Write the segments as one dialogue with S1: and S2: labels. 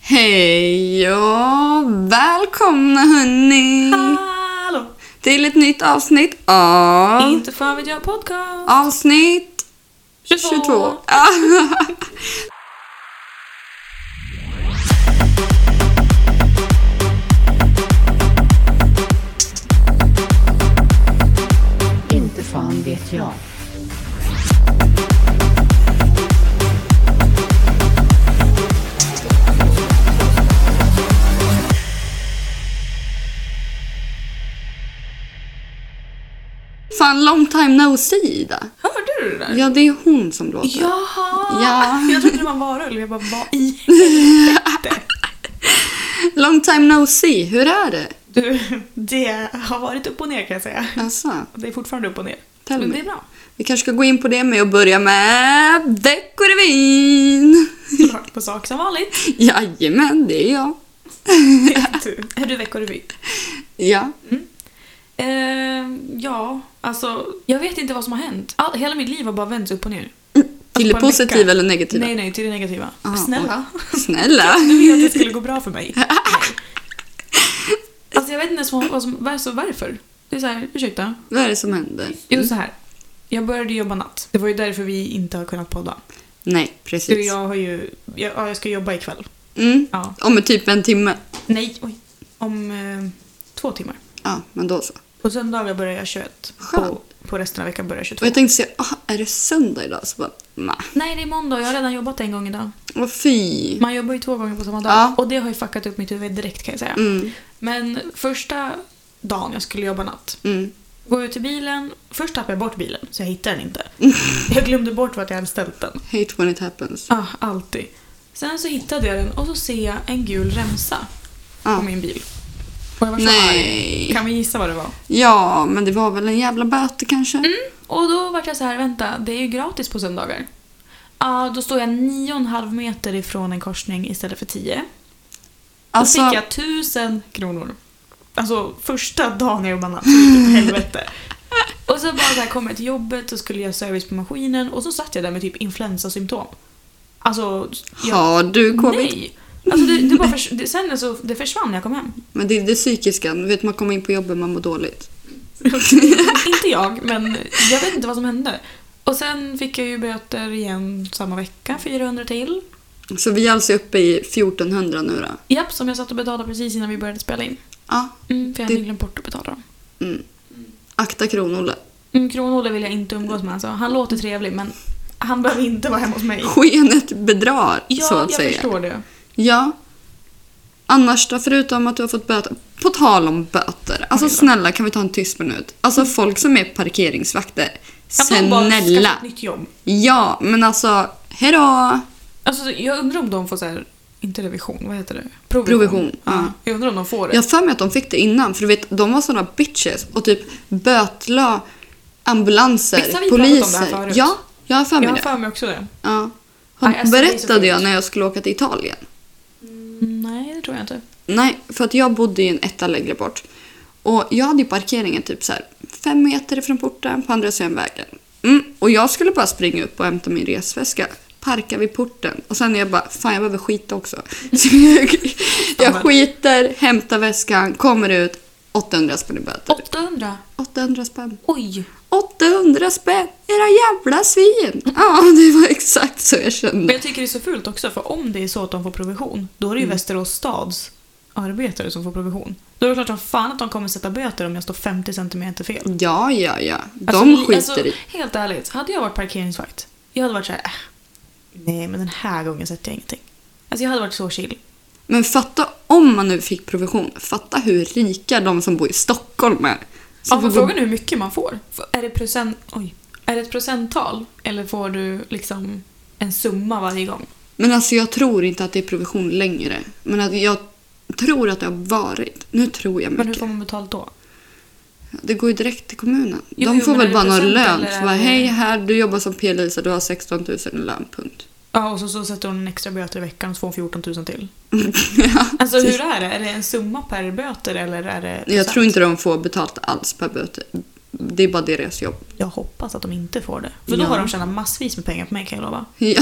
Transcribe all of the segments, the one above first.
S1: Hej och välkomna hörni!
S2: Hallå!
S1: Till ett nytt avsnitt av...
S2: Inte fan vet jag podcast.
S1: Avsnitt 22.
S3: Inte fan vet jag.
S1: Fan, long time no see Ida.
S2: Hörde du det där?
S1: Ja, det är hon som låter.
S2: Jaha!
S1: Ja.
S2: Jag trodde det var en varulv. Jag bara, vad i
S1: Long time no see, hur är det?
S2: Du, det har varit upp och ner kan jag säga.
S1: Alltså,
S2: Och Det är fortfarande upp och ner.
S1: Tell
S2: Men
S1: me.
S2: det är bra.
S1: vi kanske ska gå in på det med att börja med Veckorevyn!
S2: Rakt på sak som vanligt.
S1: Jajamän, det är jag.
S2: Du, är Typ. du veckorevy?
S1: Ja,
S2: Eh, ja, alltså jag vet inte vad som har hänt. All, hela mitt liv har bara vänts upp och ner.
S1: till det
S2: på en vecka.
S1: positiva eller negativa?
S2: Nej, nej, till det negativa.
S1: Ah,
S2: Snälla.
S1: Snälla!
S2: Du ville att det skulle gå bra för mig. Nej. Alltså jag vet inte ens vad vad som, alltså, varför. Det är så här, ursäkta.
S1: Vad är det som händer?
S2: Jo, så här. Jag började jobba natt. Det var ju därför vi inte har kunnat podda.
S1: Nej,
S2: För
S1: precis.
S2: jag har ju... Jag, ja, jag ska jobba ikväll.
S1: Mm.
S2: Ja.
S1: Om typ en timme.
S2: Nej, oj. Om eh, två timmar.
S1: Ja, men då så.
S2: På söndagar börjar jag 21. På,
S1: Skönt.
S2: på resten av veckan börjar jag 22.
S1: Och jag tänkte säga, ah, är det söndag idag? Så bara, nah.
S2: Nej, det är måndag. Jag har redan jobbat en gång idag.
S1: Vad fy.
S2: Man jobbar ju två gånger på samma dag.
S1: Mm. Ja.
S2: Och det har ju fuckat upp mitt huvud direkt kan jag säga.
S1: Mm,
S2: Men första dagen jag skulle jobba natt
S1: mm.
S2: Går ut till bilen. Först tappade jag bort bilen, så jag hittade den inte.
S1: Mm.
S2: Jag glömde bort vart jag hade ställt den.
S1: Hate when it happens.
S2: Ah, alltid. Sen så hittade jag den och så ser jag en gul remsa
S1: Ja.
S2: på min bil. Och jag var så
S1: Ah, Nej.
S2: arg. Kan vi gissa vad det var?
S1: Ja, men det var väl en jävla böter kanske?
S2: Och då var jag så här, vänta, det är ju gratis på söndagar. Ah, då står jag 9,5 meter ifrån en korsning istället för 10. Då
S1: Alltså,
S2: fick jag 1000 kronor. Alltså första dagen jag jobbade natt, så gick det åt helvete. Och så bara så här kom jag till jobbet och skulle göra service på maskinen och så satt jag där med typ influensasymptom. Alltså, jag,
S1: har du covid?
S2: nej. Alltså det, det bara förs- det, sen alltså, det försvann när jag kom hem.
S1: Men det är det psykiska. Du vet, man kommer in på jobbet man mår dåligt.
S2: inte jag, men jag vet inte vad som hände. Och sen fick jag ju böter igen samma vecka, 400 till.
S1: Så vi är alltså uppe i 1400 nu då.
S2: Japp, som jag satt och betalade precis innan vi började spela in.
S1: Ja.
S2: Mm, för jag
S1: Det-
S2: hade glömt bort att betala dem.
S1: Mm. Akta kronolle.
S2: Mm, Kron-Olle vill jag inte umgås med. Alltså. Han låter trevlig men han behöver inte vara hemma hos mig.
S1: Skenet bedrar,
S2: Ja,
S1: så att
S2: jag
S1: säga.
S2: förstår det.
S1: Ja. Annars då, förutom att du har fått böter. På tal om böter. Alltså
S2: Oj då.
S1: snälla, kan vi ta en tyst minut? Alltså folk som är parkeringsvakter.
S2: Att de bara skaffar
S1: Snälla.
S2: ett nytt jobb.
S1: Ja, men alltså, hejdå!
S2: Alltså, jag undrar om de får så här, inte revision, vad heter det? Mm.
S1: Provision, ja.
S2: Jag undrar om de får det.
S1: Jag har för mig att de fick det innan, för du vet, de var sådana bitches och typ bötla ambulanser,
S2: Visst har vi pratat om det här
S1: poliser.
S2: förut?
S1: ja, jag har för mig
S2: Jag har
S1: det.
S2: för mig också det.
S1: Ja.
S2: Nej, alltså, det är så
S1: Berättade jag
S2: sjukt.
S1: när jag skulle åka till Italien?
S2: Mm, Nej, det tror jag inte.
S1: Nej, för att jag bodde i en etta längre bort. Och jag hade ju parkeringen typ så här fem meter ifrån porten på andra sidan vägen. Mm. Och jag skulle bara springa upp och hämta min resväska. Parka vid porten. Och sen är jag bara, fan jag behöver skita också. Så jag, jag skiter, hämtar väskan, kommer ut. 800 spänn i böter.
S2: 800?
S1: 800 spänn.
S2: Oj!
S1: 800 spänn! Era jävla svin! Ja, det var exakt så jag
S2: Men
S1: kände.
S2: jag tycker det är så fult också för om det är så att de får provision då är
S1: Mm.
S2: det ju Västerås stads arbetare som får provision. Då är det klart som fan att de kommer sätta böter om jag står 50 centimeter fel.
S1: Ja, ja, ja. De
S2: Alltså, li-
S1: skiter
S2: alltså,
S1: i.
S2: Helt ärligt, hade jag varit parkeringsvakt, jag hade varit så här, äh, nej men den här gången sätter jag ingenting. Alltså jag hade varit så chill.
S1: Men fatta om man nu fick provision. Fatta hur rika de som bor i Stockholm är. Som får
S2: Ja, men
S1: gå-
S2: frågan är hur mycket man får. F- Är det, procent, oj, är det ett procenttal eller får du liksom en summa varje gång?
S1: Men alltså jag tror inte att det är provision längre. Men att jag tror att det har varit. Nu tror jag
S2: Men hur
S1: mycket.
S2: får man betalt då?
S1: Det går ju direkt till kommunen.
S2: Jo,
S1: de
S2: jo,
S1: får
S2: men
S1: väl
S2: är
S1: bara
S2: det
S1: någon
S2: procent
S1: lön.
S2: eller
S1: Så
S2: är
S1: bara,
S2: det-
S1: hej här, du jobbar som p-lisa, du har 16 000 i lön, punkt.
S2: Ja, och så, så sätter hon en extra böter i veckan och så får hon 14 000 till. Alltså hur är det? Är det en summa per böter eller är det
S1: typ. Jag
S2: procent?
S1: tror inte de får betalt alls per böter. Det är bara deras jobb.
S2: Jag hoppas att de inte får det. För då
S1: Ja.
S2: har de tjänat massvis med pengar på mig kan jag lova.
S1: Ja.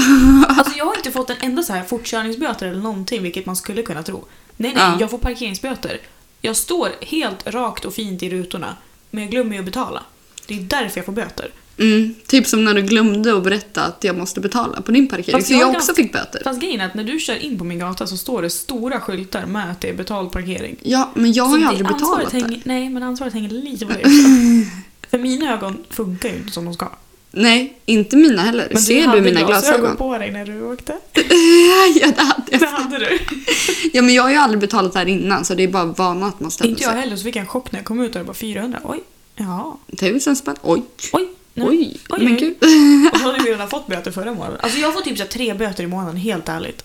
S2: Alltså jag har inte fått en enda så här fortkörningsböter eller någonting, vilket man skulle kunna tro. Nej, nej,
S1: Ja.
S2: jag får parkeringsböter. Jag står helt rakt och fint i rutorna, men jag glömmer ju att betala. Det är därför jag får böter.
S1: Mm, typ som när du glömde att berätta att jag måste betala på din parkering.
S2: Fast
S1: Så
S2: jag
S1: jag
S2: har
S1: också
S2: ganska-
S1: fick böter.
S2: Fast grejen är att när du kör in på min gata så står det stora skyltar med att det är betald parkering.
S1: Ja, men jag har
S2: Så
S1: ju
S2: det-
S1: aldrig
S2: ansvaret
S1: betalat
S2: hänger,
S1: det.
S2: Nej, men ansvaret hänger lite på dig också. För mina ögon funkar ju inte som de ska.
S1: Nej, inte mina heller.
S2: Men
S1: Ser
S2: hade
S1: du mina glasögon?
S2: på dig när du åkte.
S1: ja, det hade
S2: Det
S1: jag.
S2: hade du.
S1: Ja, men jag har ju aldrig betalat det här innan så det är bara vana att man ställer
S2: inte jag
S1: sig.
S2: heller, så fick jag en chock när jag kom ut och det var 400. Oj, ja.
S1: Tusen spänn. Oj.
S2: Oj, nej.
S1: Oj.
S2: Oj,
S1: men
S2: oj.
S1: gud.
S2: Och så hade vi redan fått böter förra månaden. Alltså jag får typ så här tre böter i månaden, helt ärligt.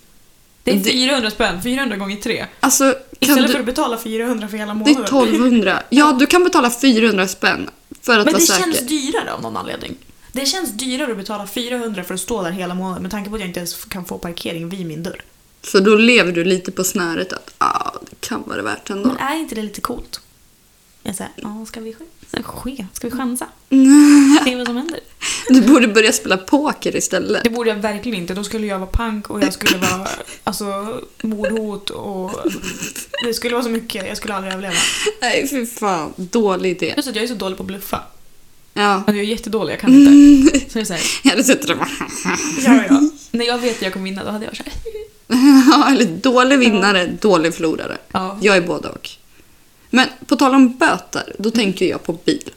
S2: Det är
S1: Det-
S2: 400 spänn, 400 gånger 3.
S1: Alltså, kan
S2: Istället för
S1: du...
S2: att betala 400 för hela
S1: Det
S2: månaden.
S1: är 1200. Ja, du kan betala 400 spänn för att
S2: Men det
S1: vara säker.
S2: känns dyrare av någon anledning. Det känns dyrare att betala 400 för att stå där hela månaden med tanke på att jag inte ens kan få parkering vid min dörr.
S1: Så då lever du lite på snöret att ah, det kan vara värt ändå.
S2: Men är inte det lite coolt? Jag säger, ja ska vi ske? ske? Ska vi chansa? Se vad som händer.
S1: Du borde börja spela poker istället.
S2: Det borde jag verkligen inte. Då skulle jag vara pank och jag skulle vara alltså, mordhot och... Det skulle vara så mycket. Jag skulle aldrig överleva.
S1: Nej, fy fan. Dålig idé.
S2: Plus att jag är så dålig på att bluffa.
S1: Ja.
S2: Alltså jag är jättedålig, jag kan inte. Så det är såhär,
S1: Ja, det sitter de
S2: ja ja. När jag vet att jag kommer vinna då hade jag såhär,
S1: Ja, Eller dålig vinnare, dålig förlorare.
S2: ja.
S1: Jag är både och. Men på tal om böter,
S2: Mm.
S1: då tänker jag på bil.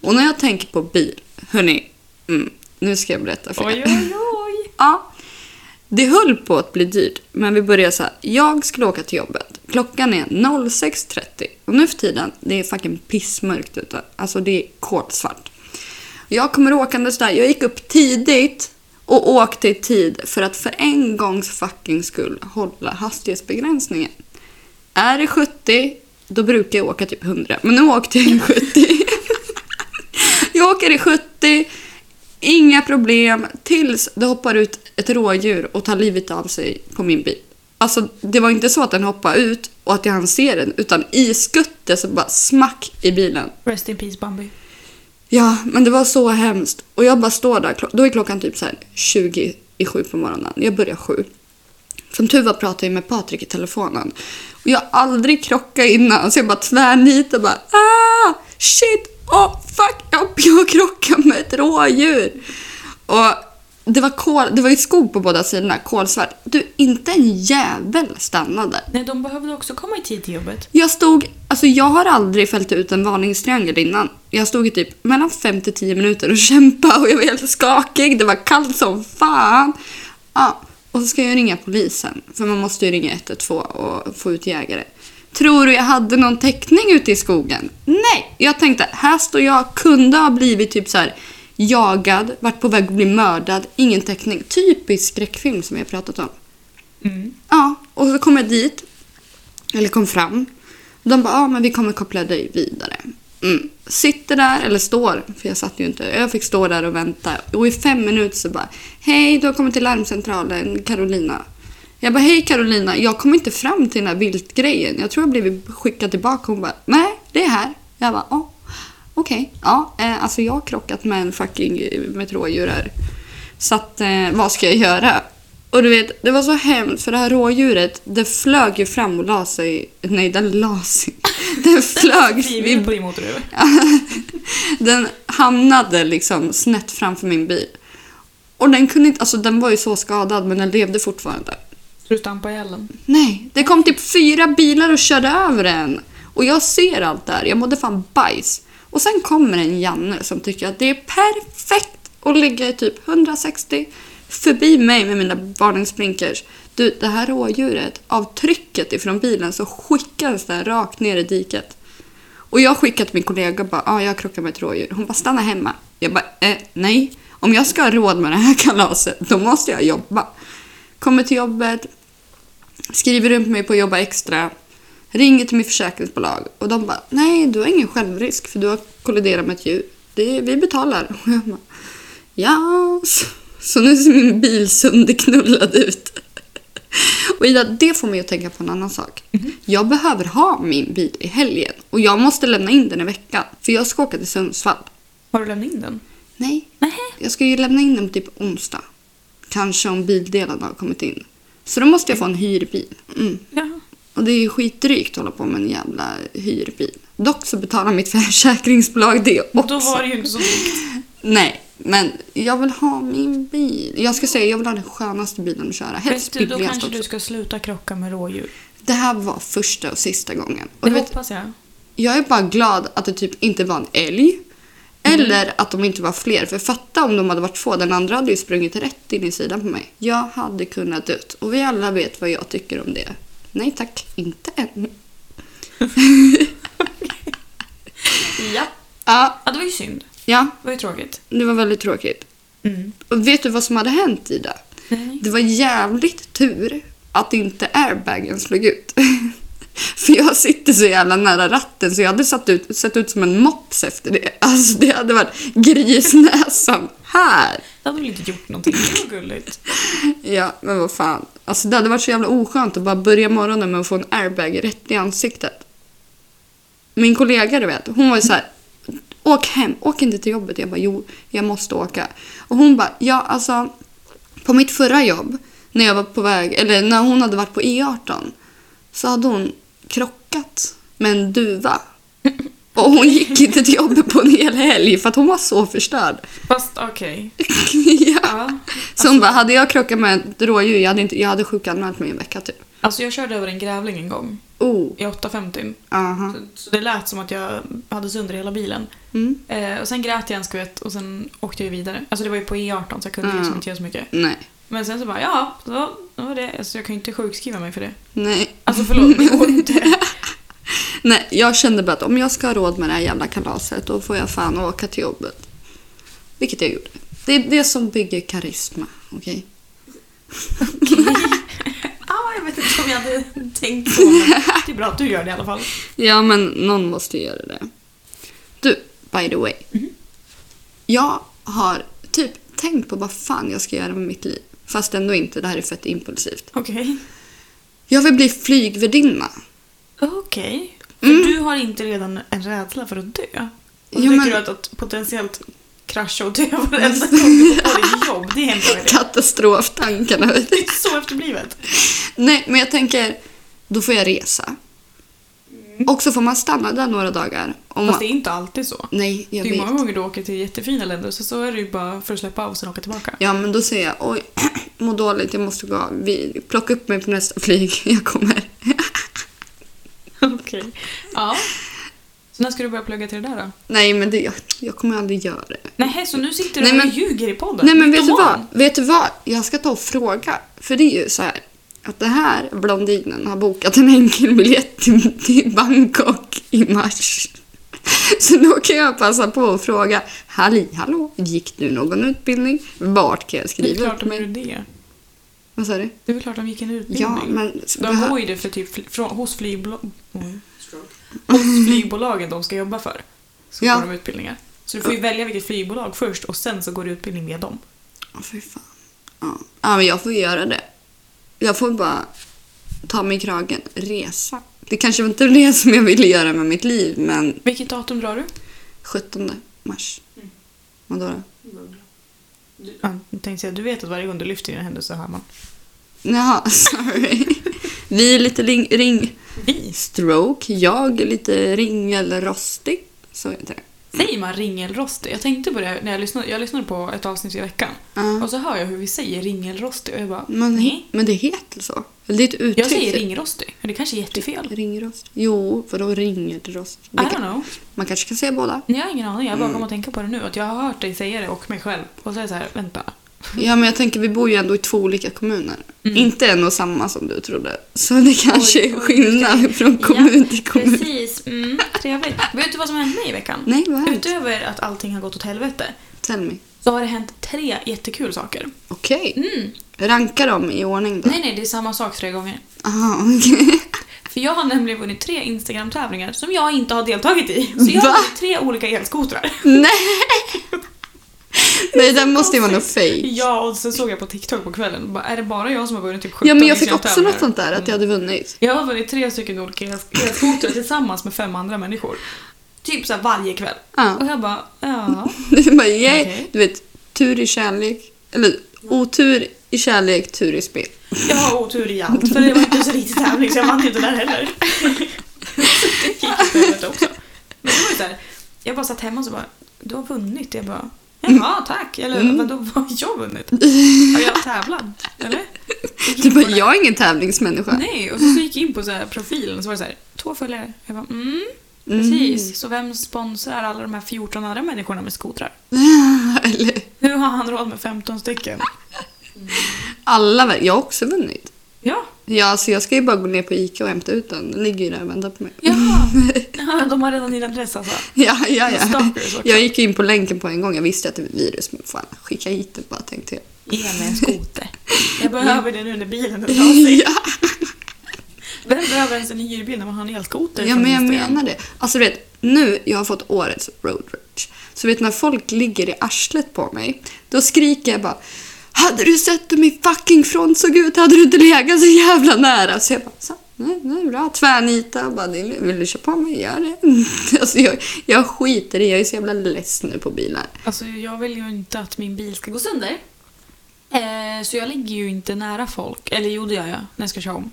S1: Och när jag tänker på bil, hörni, mm, nu ska jag berätta för
S2: Oj
S1: er.
S2: oj oj.
S1: Ja, det höll på att bli dyrt, men vi började så här. Jag skulle åka till jobbet. Klockan är 06.30 och nu för tiden, det är fucking pissmörkt ute. Alltså det är kolsvart. Jag kommer åkandes där. Jag gick upp tidigt och åkte i tid för att för en gångs fucking skull hålla hastighetsbegränsningen. Är det 70, då brukar jag åka typ 100. Men nu åkte jag i 70. jag åker i 70, inga problem, tills det hoppar ut ett rådjur och tar livet av sig på min bil. Alltså, det var inte så att den hoppade ut och att jag hann se den, utan i skuttet så bara smack i bilen.
S2: Rest in peace Bambi.
S1: Ja, men det var så hemskt. Och jag bara står där. Klo- Då är klockan typ så här 20 i sju på morgonen. Jag börjar sju. Som tur var pratade jag med Patrik i telefonen. Och jag har aldrig krockat innan, så jag bara tvärnit och bara ah, shit, oh fuck, jag- jag krockade med ett rådjur. Och det var, kol, det var ju skog på båda sidorna, kolsvart. Du, inte en jävel stannade.
S2: Nej, de behövde också komma i tid till jobbet.
S1: Jag stod, alltså jag har aldrig fällt ut en varningstriangel innan. Jag stod i typ mellan 5 till 10 minuter och kämpade och jag var helt skakig. Det var kallt som fan. Ja, och så ska jag ringa polisen, för man måste ju ringa 112 och få ut jägare. Tror du jag hade någon täckning ute i skogen? Nej! Jag tänkte, här står jag, kunde ha blivit typ så här jagad, varit på väg att bli mördad, ingen täckning. Typisk skräckfilm som jag har pratat om.
S2: Mm.
S1: Ja, och så kom jag dit. Eller kom fram. De bara, ja men vi kommer koppla dig vidare. Mm. Sitter där, eller står, för jag satt ju inte. Jag fick stå där och vänta. Och i fem minuter så bara, hej du har kommit till larmcentralen, Carolina. Jag bara, hej Carolina, jag kom inte fram till den här viltgrejen. Jag tror jag blev skickad tillbaka. Hon bara, nej det är här. Jag bara, ja. Okej, ja. Eh, alltså jag har krockat med en fucking eh, med ett rådjur här. Så att, eh, vad ska jag göra? Och du vet, det var så hemskt för det här rådjuret, det flög ju fram och la sig. Nej, den la sig. Den flög.
S2: Frivilligt på
S1: vid-
S2: din motorhuvud.
S1: den hamnade liksom snett framför min bil. Och den kunde inte, alltså den var ju så skadad men den levde fortfarande.
S2: Så du stampade ihjäl den.
S1: Nej, det kom typ fyra bilar och körde över en. Och jag ser allt där. Jag mådde fan bajs. Och sen kommer en Janne som tycker att det är perfekt att ligga i typ 160 förbi mig med mina varningsblinkers. Du, det här rådjuret, av trycket ifrån bilen så skickades den rakt ner i diket. Och jag skickade till min kollega och bara, ah, jag krockar med ett rådjur. Hon bara, stanna hemma. Jag bara, eh, nej. Om jag ska ha råd med det här kalaset, då måste jag jobba. Kommer till jobbet, skriver runt mig på att jobba extra, ringer till mitt försäkringsbolag och de bara nej du har ingen självrisk för du har kolliderat med ett djur. Det, vi betalar. Och jag bara ja. Så- Så nu ser min bil sönderknullad ut. Och Ida, det får mig att tänka på en annan sak. Jag behöver ha min bil i helgen och jag måste lämna in den i veckan för jag ska åka till Sundsvall.
S2: Har du lämnat in den?
S1: Nej,
S2: Nej.
S1: jag ska ju lämna in den på typ onsdag. Kanske om bildelarna har kommit in. Så då måste jag få en hyrbil. Mm.
S2: Ja.
S1: Och det är ju skitdrygt att hålla på med en jävla hyrbil. Dock så betalar mitt försäkringsbolag det också.
S2: Då var det ju inte så dyrt.
S1: Nej, men jag vill ha min bil. Jag ska säga, jag vill ha den skönaste bilen att köra. Helst
S2: Vet du, då
S1: billigast
S2: kanske
S1: också.
S2: du ska sluta krocka med rådjur.
S1: Det här var första och sista gången. Och
S2: Det
S1: du vet,
S2: hoppas jag.
S1: jag är bara glad att det typ inte var en älg.
S2: Mhm.
S1: Eller att de inte var fler. För fatta om de hade varit två. Den andra hade ju sprungit rätt in i sidan på mig. Jag hade kunnat dött. Och vi alla vet vad jag tycker om det. Nej tack, inte än.
S2: Ja.
S1: Ja,
S2: ja, det var ju synd.
S1: ja,
S2: Det var ju tråkigt.
S1: det var väldigt tråkigt.
S2: Mm.
S1: Och vet du vad som hade hänt Ida?
S2: Nej.
S1: Det var jävligt tur att inte airbagen slog ut. För jag sitter så jävla nära ratten så jag hade satt ut, sett ut som en mops efter det. Alltså det hade varit grisnäsan här.
S2: Det hade väl inte gjort någonting. Det var gulligt.
S1: Ja, men vad fan. Alltså det hade varit så jävla oskönt att bara börja morgonen med att få en airbag rätt i ansiktet. Min kollega, du vet, hon var ju så här. Åk hem, åk inte till jobbet. Jag bara, jo, jag måste åka. Och hon bara, ja alltså. På mitt förra jobb, när jag var på väg, eller när hon hade varit på E18. Så hade hon krockat med en duva. Och hon gick inte till jobbet på en hel helg för att hon var så förstörd.
S2: Fast okej.
S1: ja.
S2: Ja.
S1: Så hon bara, hade jag krockat med ett rådjur, jag hade, inte, jag hade sjukanmält mig en vecka typ.
S2: Alltså jag körde över en grävling en gång.
S1: Oh,
S2: I 850.
S1: aha.
S2: Så- Så det lät som att jag hade sönder hela bilen.
S1: Mm.
S2: Eh, och sen grät jag en skvätt och sen åkte jag vidare. Alltså det var ju på E18 så jag kunde
S1: Mm.
S2: liksom inte göra så mycket.
S1: Nej.
S2: Men sen så bara, ja, så då var det. Alltså jag kan ju inte sjukskriva mig för det.
S1: Nej.
S2: Alltså förlåt, det går inte.
S1: Nej, jag kände bara att om jag ska ha råd med det här jävla kalaset då får jag fan åka till jobbet. Vilket jag gjorde. Det är det som bygger karisma, okej?
S2: ah, jag vet inte om jag hade tänkt så. men Det är bra att du gör det i alla fall.
S1: Ja, men någon måste ju göra det. Du, by the way. Jag har typ tänkt på vad fan jag ska göra med mitt liv. Fast ändå inte, det här är fett impulsivt.
S2: Okej.
S1: Jag vill bli flygvärdinna.
S2: Okej. För
S1: Mm.
S2: du har inte redan en rädsla för att dö? Och
S1: Jo,
S2: så tycker
S1: men- Mm.
S2: du att, att potentiellt krascha och dö varenda gång du går på ditt jobb, det är en bra idé.
S1: Katastroftankarna, vet
S2: Det
S1: du.
S2: är så efterblivet.
S1: Nej, men jag tänker, då får jag resa. Och så får man stanna där några dagar. Om
S2: Mm. Fast det
S1: man...
S2: är inte alltid så.
S1: Nej, jag
S2: det är ju många
S1: vet.
S2: gånger du åker till jättefina länder så, så är det ju bara för att släppa av och sen åka tillbaka.
S1: Ja, men då säger jag, oj, mår dåligt, jag måste gå. av. Vi... Plocka upp mig på nästa flyg, jag kommer.
S2: Okej. Ja. Så när ska du börja plugga till det där då?
S1: Nej, men det... jag- jag kommer aldrig göra det.
S2: Nej, så nu sitter du
S1: Nej, men-
S2: och ljuger i podden?
S1: Nej, men
S2: Mitt
S1: vet du
S2: om
S1: vad?
S2: dagen.
S1: Vet du vad? Jag ska ta och fråga. För det är ju så här, att det här blondinen har bokat en enkel biljett till, till Bangkok i mars. Så då kan jag passa på att fråga, Halli hallå, gick du någon utbildning? Vart kan jag
S2: Det är
S1: skriva
S2: klart
S1: upp
S2: de gjorde
S1: mig?
S2: det.
S1: Vad sa du?
S2: Det är väl klart de gick en utbildning.
S1: Ja, men...
S2: De går ju det för typ fl- från, hos, flygbolag,
S1: Mm.
S2: oj, hos flygbolagen de ska jobba för. Så
S1: Ja.
S2: går de utbildningar. Så du får ju välja vilket flygbolag först och sen så går du utbildning med dem.
S1: Ja, fy fan. Ja. ja, men jag får ju göra det. Jag får bara ta mig i kragen, resa. Det kanske inte var det som jag ville göra med mitt liv, men
S2: Vilket datum drar du?
S1: 17 mars.
S2: Mm.
S1: Vadå då?
S2: Ja, jag tänkte säga, du vet att varje gång du lyfter dina händer så hör man
S1: Jaha, sorry. Vi är lite ring, ring...
S2: vi.
S1: Stroke. Jag är lite ringelrostig. Så heter det.
S2: Säger man ringelrostig? Jag tänkte på det när jag lyssnade, jag lyssnade på ett avsnitt i veckan.
S1: Ja.
S2: Och så hör jag hur vi säger ringelrostig och jag bara
S1: Mm. Men,
S2: nej.
S1: men det heter så. Eller Det är ett uttryck.
S2: Mm. Jag säger ringrostig, men det kanske är jättefel.
S1: Ringrost. Jo, vadå ringelrost?
S2: I
S1: Det
S2: don't
S1: kan-
S2: know.
S1: Man kanske kan säga båda.
S2: Jag har ingen aning, jag bara kom att tänka på det nu. Att jag har hört dig säga det och mig själv. Och så är jag så här, vänta.
S1: Ja, men jag tänker vi bor ju ändå i två olika kommuner.
S2: Mm.
S1: Inte en och samma som du trodde. Så det kanske
S2: Oj,
S1: är
S2: oj,
S1: skillnad från
S2: Ja,
S1: kommun till kommun.
S2: Precis, mm, trevligt. Vet du vad som hände mig i veckan?
S1: Nej, vad har hänt?
S2: Utöver att allting har gått åt helvete
S1: Tell me.
S2: så har det hänt tre jättekul saker.
S1: Okej.
S2: Mm.
S1: Ranka dem i ordning då.
S2: Nej, nej, det är samma sak tre gånger.
S1: Aha, okej.
S2: För jag har nämligen vunnit tre Instagram-tävlingar som jag inte har deltagit i. Så jag
S1: Va?
S2: har vunnit tre olika elskotrar.
S1: Nej! Nej, det måste ju vara något fejk.
S2: Ja, och sen såg jag på TikTok på kvällen. Bara, är det bara jag som har vunnit typ Mm. 17
S1: Ja, men jag fick också något
S2: Instagram-tävlingar?
S1: sånt där, att jag hade vunnit.
S2: Jag har vunnit tre stycken olika elskotrar tillsammans med fem andra människor. Typ såhär varje kväll.
S1: Ja.
S2: Och jag bara, ja.
S1: Det är bara, yay.
S2: Mm. Okej.
S1: Du vet, tur i kärlek. Eller otur i kärlek, tur i spel.
S2: Jag har otur i allt. För det var inte en så riktig tävling så jag vann inte där heller. Så det gick för helvete också. Men det var ju såhär, jag bara satt hemma och så bara, du har vunnit. Jag bara, jaha tack. Eller
S1: Mm.
S2: vadå, vad har jag vunnit? Har jag tävlat? Eller? Gick
S1: Du
S2: in på
S1: bara,
S2: det.
S1: jag är ingen tävlingsmänniska.
S2: Nej, och så gick jag in på så här profilen och så var det så här, två följare. Jag bara, mm, precis. Så vem sponsrar alla de här 14 andra människorna med skotrar?
S1: Mm. Eller,
S2: Nu har han råd med 15 stycken.
S1: alla, ver- jag har också vunnit.
S2: Ja,
S1: Ja, alltså jag ska ju bara gå ner på Ica och hämta ut den. Den ligger ju där och väntar på mig.
S2: jaha. Ja, de har redan din adress alltså.
S1: Ja, ja, ja.
S2: Stalkers också.
S1: Jag gick in på länken på en gång. Jag visste att det var virus, men fan, skicka hit det bara tänkte jag.
S2: Ge mig en skoter. Jag behöver den under bilen. Den drar sig.
S1: Ja,
S2: Vem behöver ens en hyrbil när man har en elskoter?
S1: ja
S2: från
S1: men jag
S2: Instagram?
S1: menar det. Alltså du vet, nu jag har fått årets road rage. Så vet när folk ligger i arslet på mig, då skriker jag bara Hade du sett hur min fucking front såg ut hade du inte legat så jävla nära. Så jag bara så, nej, nej, bra. Tvärnita och bara "Vill- vill du köra på mig, gör det. Alltså jag, jag skiter i, jag är så jävla less nu på bilar.
S2: Alltså, jag vill ju inte att min bil ska gå sönder. Eh, så jag ligger ju inte nära folk. Eller jo, det gör jag när jag ska köra om.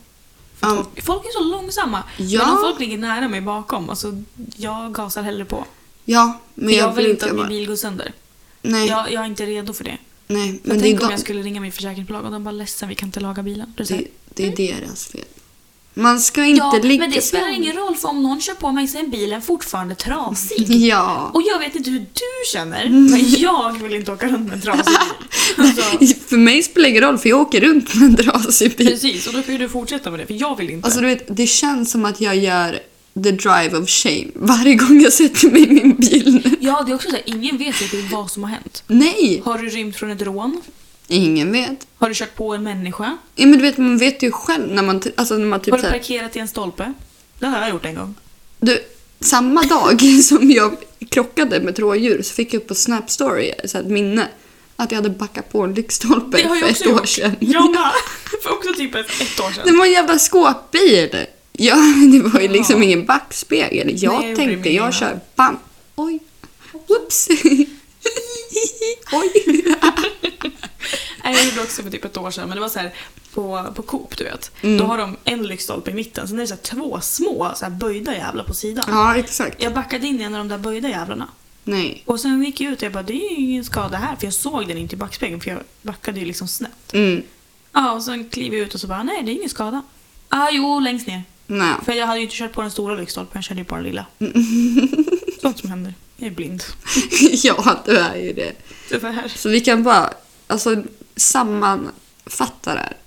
S2: För
S1: Ja.
S2: folk, folk är så långsamma.
S1: Ja.
S2: Men om folk ligger nära mig bakom, alltså, jag gasar hellre på.
S1: Ja, men
S2: För
S1: jag,
S2: jag vill inte att
S1: jag
S2: min
S1: bara,
S2: bil går sönder.
S1: nej,
S2: Jag, jag är inte redo för det.
S1: nej.
S2: Men
S1: Men det är,
S2: tänk om
S1: de,
S2: jag skulle ringa min försäkringsbolag och de bara ledsen, vi kan inte laga bilen. Då är det så här,
S1: det, det är deras fel. Man ska inte
S2: ja,
S1: ligga
S2: men det spelar
S1: så-
S2: ingen roll för om någon kör på mig så är bilen fortfarande trasig.
S1: Ja.
S2: Och jag vet inte hur du känner,
S1: Mm.
S2: men jag vill inte åka runt med en trasig bil. Alltså,
S1: För mig spelar det ingen roll för jag åker runt med en trasig bil.
S2: precis, och då får ju du fortsätta med det, för jag vill inte.
S1: Alltså du vet, det känns som att jag gör the drive of shame varje gång jag sätter mig i min bil. nu.
S2: ja, det är också så här, ingen vet riktigt vad som har hänt.
S1: Nej!
S2: Har du rymt från ett rån?
S1: Ingen vet.
S2: Har du kört på en människa?
S1: Ja, men du vet, man vet ju själv när man, alltså, när man typ
S2: Har du
S1: såhär,
S2: parkerat i en stolpe? Det har jag gjort en gång.
S1: du, samma dag som jag krockade med ett rådjur så fick jag upp på Snap Story så här, ett minne att jag hade backat på en lyktstolpe
S2: Det har
S1: för
S2: jag
S1: ett
S2: också
S1: år
S2: gjort.
S1: sedan.
S2: Jag med. För också typ ett, ett år sedan.
S1: Det var en jävla skåpbil. Ja, men det var ju
S2: Ja.
S1: liksom ingen backspegel. Jag
S2: Nej, jag gjorde
S1: tänkte,
S2: min
S1: jag
S2: ena.
S1: kör. Bam! Oj! Whoops! Oj!
S2: Nej, jag gjorde också för typ ett år sedan, men det var så här på, på Coop, du vet.
S1: Mm.
S2: Då har de en lyktstolpe i mitten, sen är det så här två små så här böjda jävlar på sidan.
S1: Ja, exakt.
S2: Jag backade in i en av de där böjda jävlarna.
S1: Nej.
S2: Och sen gick jag ut och jag bara, det är ju ingen skada här, för jag såg den inte i backspegeln, för jag backade ju liksom snett.
S1: Mm.
S2: Ja, och sen klev jag ut och så bara, nej det är ingen skada. ah, jo, längst ner.
S1: Nej.
S2: För jag hade ju inte kört på den stora lyktstolpen, jag körde ju på den lilla. Sånt som händer. Jag är blind.
S1: Ja, du är ju det.
S2: Tyvärr.
S1: Så vi kan bara alltså, sammanfatta det här.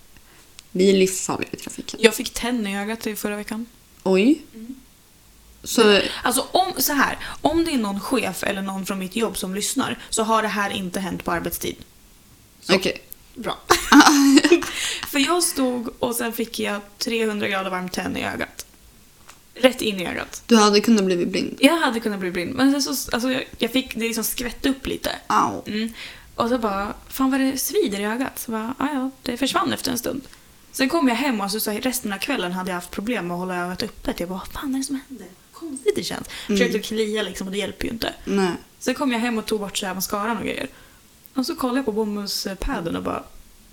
S1: Vi är livsfarliga i trafiken.
S2: Jag fick tenn i ögat i förra veckan.
S1: Oj. Så
S2: Alltså om, så här, om det är någon chef eller någon från mitt jobb som lyssnar så har det här inte hänt på arbetstid.
S1: okej.
S2: Bra. För jag stod och sen fick jag 300 grader varmt tenn i ögat. Rätt in i ögat.
S1: Du hade kunnat bli blind.
S2: Jag hade kunnat bli blind men sen så, alltså jag, jag fick det liksom skvätt upp lite.
S1: Au.
S2: Mm. Och så bara, fan vad det svider i ögat. Så bara, "Ja, ja, det försvann efter en stund. Sen kom jag hem och så, så här, resten av kvällen hade jag haft problem med att hålla ögat öppet. Jag bara, vad fan är det som händer? Konstigt det känns. Försökte klia liksom och det hjälper ju inte.
S1: Nej.
S2: Sen kom jag hem och tog bort så här mascaran och grejer. Och så kollade jag på bomullspadden och bara,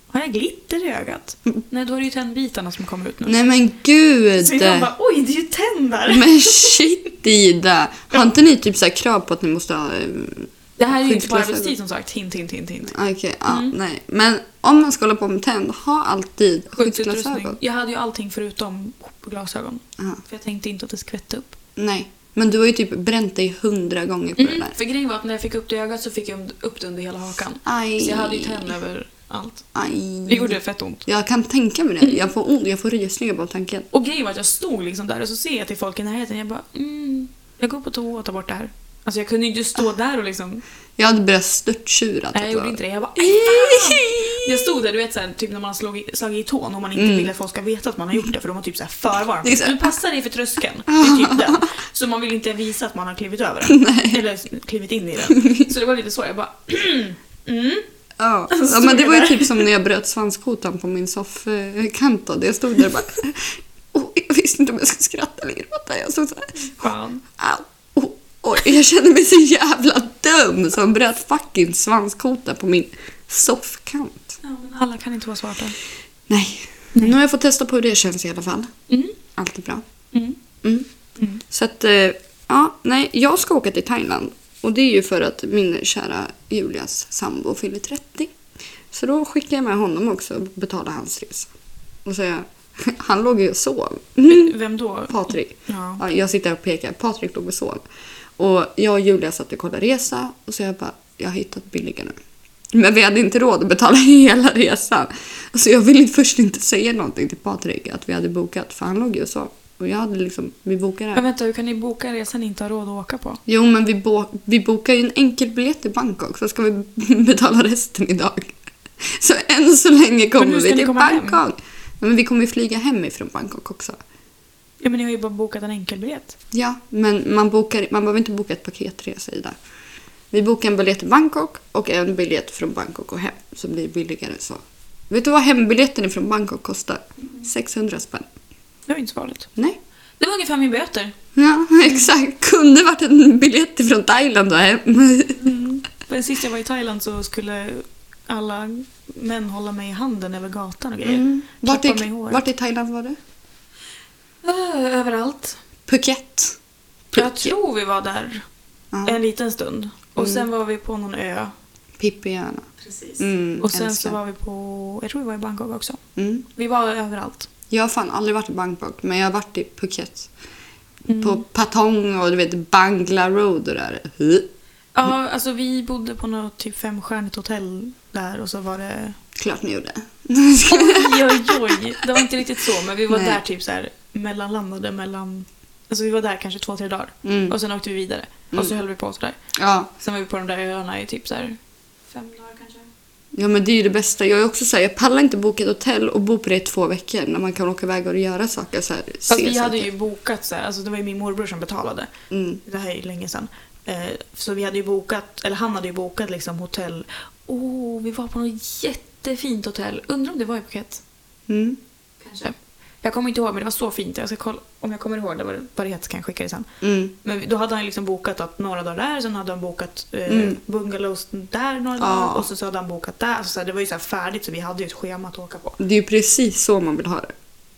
S2: har jag glitter i ögat? Nej, då är det ju tennbitarna som kommer ut nu.
S1: Nej men gud!
S2: så jag bara, oj det är ju tänder!
S1: Men shit Ida! Har inte ni typ så här krav på att ni måste ha... eh,
S2: det här är ju inte på
S1: Skyddsglasögon.
S2: arbetstid som sagt. Hint, hint, hint, hint.
S1: ah, Okej, ja,
S2: Mm.
S1: nej. Men om man ska hålla på med tänd, ha alltid
S2: Skyddsutrustning.
S1: skyddsglasögon.
S2: Jag hade ju allting förutom glasögon.
S1: Ja,
S2: För jag tänkte inte att det skvätte upp.
S1: nej. Men du har ju typ bränt dig hundra gånger på det där.
S2: För grejen var att när jag fick upp det i ögat så fick jag upp det under hela hakan.
S1: Aj. Mm.
S2: Så jag hade ju tänd över allt.
S1: Aj.
S2: Det gjorde fett ont.
S1: Jag kan tänka mig det. Jag får ont, jag får rysningar bara av tanken.
S2: Och grejen var att jag stod liksom där och så ser jag till folk i närheten. Jag bara, mm, jag går på toa och tar bort det här. Alltså jag kunde ju inte
S1: Ah.
S2: stå där och liksom...
S1: Jag hade börjat typ. störttjura.
S2: Nej, jag gjorde inte det. Jag bara, "Aj, fan!" Jag stod där, du vet såhär, typ när man har slagit, slagit i tån och man inte vill att folk ska veta att man har gjort det för de har typ såhär
S1: Mm. Det är så
S2: förvarnat.
S1: här-
S2: Du passar dig för tröskeln. Det är typ den. Så man vill inte visa att man har klivit över den. Eller klivit in i den. Så det var lite så. Jag bara, mm.
S1: Ja.
S2: Så
S1: ja,
S2: stod
S1: men det
S2: jag
S1: var ju
S2: där.
S1: typ som när jag bröt svanskotan på min soffkant. då. Jag stod där och bara... Åh, jag visste inte om jag skulle skratta eller gråta. Jag stod så här...
S2: Fan.
S1: Au. Oh, Oj, jag kände mig så jävla dum som bröt fucking svanskota på min soffkant.
S2: Ja, men alla kan inte vara svarta.
S1: Nej.
S2: Nej.
S1: Nu har jag fått testa på hur det känns i alla fall.
S2: Mm.
S1: Allt är bra.
S2: Mm.
S1: Mm.
S2: Mm.
S1: Så att, eh, ja, nej, jag ska åka till Thailand. Och det är ju för att min kära Julias sambo fyller 30. Så då skickar jag med honom också och betalar hans resa. Och så är jag, han låg ju och sov. Mm.
S2: Vem då?
S1: Patrik.
S2: Ja.
S1: Ja, jag sitter här och pekar. Patrik låg och sov. Och jag och Julia satt och kollade resa och så jag bara, jag har hittat billigare nu. Men vi hade inte råd att betala hela resan. Så jag ville först inte säga någonting till Patrik att vi hade bokat för han låg ju och sov. Och jag hade liksom, vi bokade
S2: Men
S1: här.
S2: vänta, hur kan ni boka en resa ni inte har råd att åka på?
S1: Jo men vi, bo- vi bokar ju en enkelbiljett till Bangkok så ska vi betala resten idag. Så än så länge kommer
S2: hur ska
S1: vi
S2: ni
S1: till
S2: komma hem?
S1: Bangkok. Nej, Men vi kommer ju flyga hemifrån Bangkok också.
S2: Ja, men ni har ju bara bokat en enkelbiljett.
S1: Ja, men man, bokar, man behöver inte boka ett paketresa i det. Vi bokar en biljett till Bangkok och en biljett från Bangkok och hem. Så blir det billigare än så. Vet du vad hembiljetten från Bangkok kostar? 600 spänn.
S2: Det var ju inte så farligt.
S1: Nej.
S2: Det var ungefär min böter.
S1: Ja, exakt. Kunde varit en biljett från Thailand och hem.
S2: Men sist jag var i Thailand så skulle alla män hålla mig i handen över gatan och grejer.
S1: Mm. Vart,
S2: Klappa mig
S1: i,
S2: i håret.
S1: vart i Thailand var det?
S2: Ö, Ah, Överallt.
S1: Phuket.
S2: Jag tror vi var där
S1: Ja.
S2: en liten stund. Och sen var vi på någon ö.
S1: Pippiöarna.
S2: Precis.
S1: Mm,
S2: Och sen
S1: älskar.
S2: så var vi på, jag tror vi var i Bangkok också.
S1: Mm.
S2: Vi var överallt.
S1: Jag har fan aldrig varit i Bangkok, men jag har varit i Phuket.
S2: Mm.
S1: På Patong och du vet Bangla Road och där. Mm.
S2: Ja, alltså vi bodde på något typ femstjärnigt hotell där och så var det...
S1: Klart ni gjorde.
S2: Oj, oj, oj. Det var inte riktigt så, men vi var
S1: Nej.
S2: där typ så här mellanlandade mellan... Alltså vi var där kanske två, tre dagar.
S1: Mm.
S2: Och sen åkte vi vidare. Och så höll vi på sådär.
S1: Ja.
S2: Sen var vi på de där öarna i typ så här... Fem dagar kanske?
S1: ja, men det är ju det bästa. Jag är också så här, jag pallar inte boka ett hotell och bo på det i två veckor när man kan åka iväg och göra saker. Så här, se
S2: Alltså, vi
S1: saker.
S2: hade ju bokat så här, alltså det var ju min morbror som betalade.
S1: Mm.
S2: Det här är ju länge sedan. Eh, så vi hade ju bokat, eller han hade ju bokat liksom hotell. Åh, oh, vi var på något jättefint hotell. Undrar om det var i Phuket?
S1: Mm.
S2: Kanske. Jag kommer inte ihåg, men det var så fint. Jag ska kolla, om jag kommer ihåg det, vad vad det heter så kan jag skicka det sen.
S1: Mm.
S2: Men då hade han ju liksom bokat att några dagar där, sen hade han bokat eh,
S1: Mm.
S2: bungalows där några
S1: Ja.
S2: dagar och så, så hade han bokat där. Alltså, Så, så här, det var ju så här färdigt så vi hade ju ett schema att åka på.
S1: Det är ju precis så man vill ha det.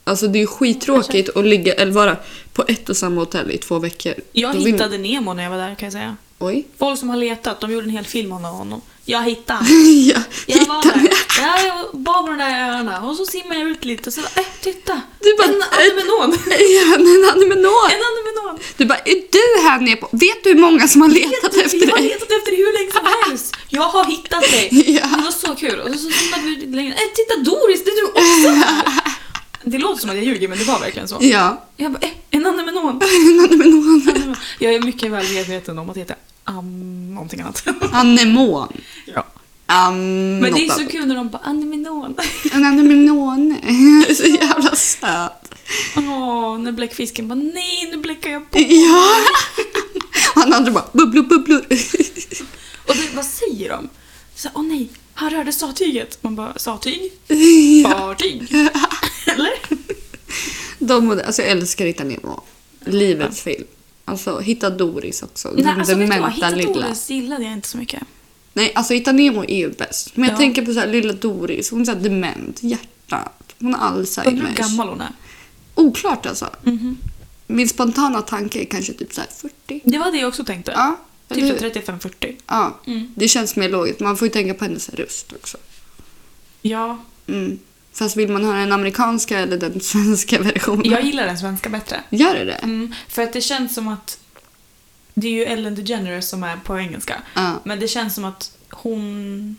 S1: Alltså det är ju skittråkigt att ligga eller vara på ett och samma hotell i två veckor.
S2: Jag
S1: Då vill-
S2: hittade Nemo när jag var där kan jag säga.
S1: Oj.
S2: Folk som har letat, de gjorde en hel film om honom. Jag hittade han.
S1: ja,
S2: Jag var
S1: hittade-
S2: där. Ja, jag var på de där öarna och så simmar jag ut lite och så bara, äh, titta!
S1: Du bara, äh.
S2: en anemenon!
S1: Ja, en anemonon.
S2: En anemenon!
S1: Du bara, är du här nere på... Vet du hur många som har letat efter
S2: Jag har
S1: dig?
S2: letat efter dig hur länge som helst! Jag har hittat dig!
S1: Ja.
S2: Det var så kul! Och så simmade vi lite längre. Äh, titta Doris, det är du också här! Det låter som att jag ljuger men det var verkligen så.
S1: Ja,
S2: Jag bara, äh, en anemenon!
S1: en anemonon.
S2: Jag är mycket väl medveten om att heta um, någonting annat.
S1: Anemon.
S2: Ja.
S1: Um,
S2: Men det är
S1: något
S2: så
S1: annat.
S2: kul när de bara anemenon.
S1: En anemonon. så jävla söt.
S2: Åh, när bläckfisken bara nej, nu bläckar jag på.
S1: Ja. Han andra bara bubblor, bubblor.
S2: Och det, vad säger de? Så, åh nej, han rörde sattyget. Man bara, satyg?
S1: ja.
S2: Fartyg? Eller?
S1: De, och det- alltså, jag älskar Hitta Nemo. Livets film. Alltså, Hitta Doris också.
S2: Nej,
S1: Den
S2: alltså vet du vad?
S1: dementa
S2: Hitta
S1: lilla.
S2: Doris gillade jag inte så mycket.
S1: Nej, alltså Hitta Nemo är ju bäst. Men jag
S2: Ja.
S1: tänker på så här, lilla Doris. Hon är så här dement. Hjärtat. Hon har Alzheimers.
S2: Undrar hur gammal hon är.
S1: Oklart alltså. Min spontana tanke är kanske typ så här 40.
S2: Det var det jag också tänkte.
S1: Ja, eller
S2: typ
S1: hur?
S2: 35-40.
S1: ja.
S2: Mm.
S1: det känns mer logiskt. Man får ju tänka på hennes röst också.
S2: Ja,
S1: Mm. Fast vill man höra den amerikanska eller den svenska versionen?
S2: jag gillar den svenska bättre.
S1: Gör det det?
S2: Mm, för att det känns som att det är ju Ellen DeGeneres som är på engelska.
S1: Ja.
S2: Men det känns som att hon...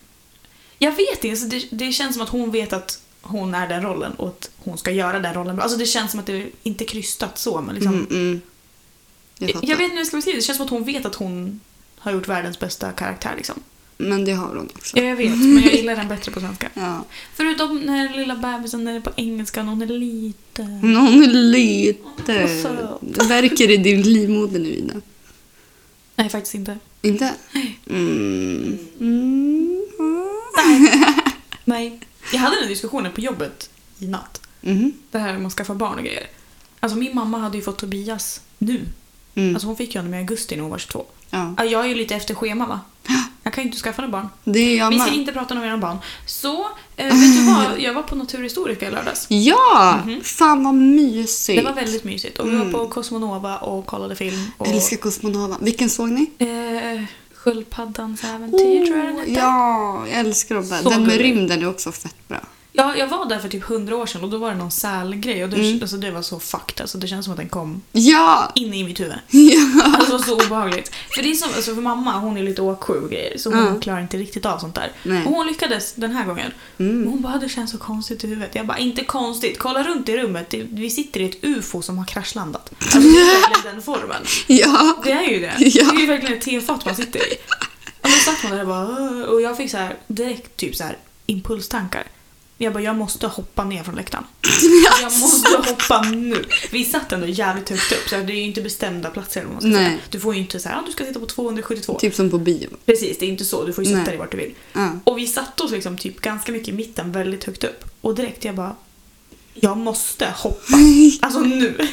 S2: Jag vet inte, så det, det känns som att hon vet att hon är den rollen och att hon ska göra den rollen bra. Alltså det känns som att det inte är krystat så men liksom...
S1: Mm, mm. Jag
S2: jag,
S1: fattar.
S2: vet inte hur jag ska beskriva det, det känns som att hon vet att hon har gjort världens bästa karaktär liksom.
S1: Men det har hon också.
S2: Ja, jag vet, men jag gillar den bättre på svenska.
S1: Ja.
S2: Förutom den här lilla bebisen, den är på engelska och hon är liten.
S1: Men hon är lite...
S2: Vad söt.
S1: Det verkar i din livmoder nu, Ida.
S2: Nej, faktiskt inte.
S1: Inte? Mm. Mm.
S2: Nej. Jag hade den diskussionen på jobbet i natt.
S1: Mhm.
S2: det här med att skaffa barn och grejer. Alltså min mamma hade ju fått Tobias nu.
S1: Mm.
S2: Alltså hon fick ju honom i augusti när hon var 22.
S1: Ja.
S2: Ja, Jag är ju lite efter schema va? Jag kan ju inte skaffa några barn.
S1: Det är jag
S2: Vi ska
S1: med.
S2: inte prata om era barn. Så, eh, vet du vad? Jag var på Naturhistoriska i lördags.
S1: Ja! Fan vad mysigt.
S2: Mhm. Det var väldigt mysigt. Mm. Och vi var på Cosmonova och kollade film. Och,
S1: Älskar Cosmonova. Vilken såg ni?
S2: eh, Sköldpaddans äventyr tror jag den hette.
S1: Oh, ja, jag älskar dem.
S2: Så
S1: Den med
S2: gullig.
S1: rymden är också fett bra.
S2: Ja, jag var där för typ 100 år sedan och då var det någon sälgrej och det,
S1: Mm.
S2: alltså, det var så fucked. Alltså, det känns som att den kom
S1: Ja!
S2: in i mitt huvud.
S1: ja.
S2: Alltså det var så obehagligt. För det är som, alltså, för mamma hon är lite åksjuk och grejer så hon
S1: Ja.
S2: klarar inte riktigt av sånt där.
S1: Nej. Mm.
S2: Och hon lyckades den här gången. Men hon bara, det känns så konstigt i huvudet. Jag bara, inte konstigt. Kolla runt i rummet. Det- Vi sitter i ett ufo som har kraschlandat. Alltså det är verkligen den formen.
S1: Ja.
S2: Det är ju det.
S1: Ja.
S2: Det är ju verkligen ett tefat man sitter i. Och så satt man där och bara "Åh", och jag fick så här direkt typ så här impulstankar. Jag bara, jag måste hoppa ner från läktaren. Jag måste hoppa nu. Vi satt ändå jävligt högt upp så här, det är ju inte bestämda platser eller vad man ska
S1: Nej.
S2: säga. Du får ju inte säga att du ska sitta på 272.
S1: Typ som på bio.
S2: Precis, det är inte så. Du får ju
S1: Nej.
S2: sitta dig vart du vill.
S1: Ja.
S2: Och vi satte oss liksom typ ganska mycket i mitten, väldigt högt upp. Och direkt jag bara, jag måste hoppa. Alltså nu.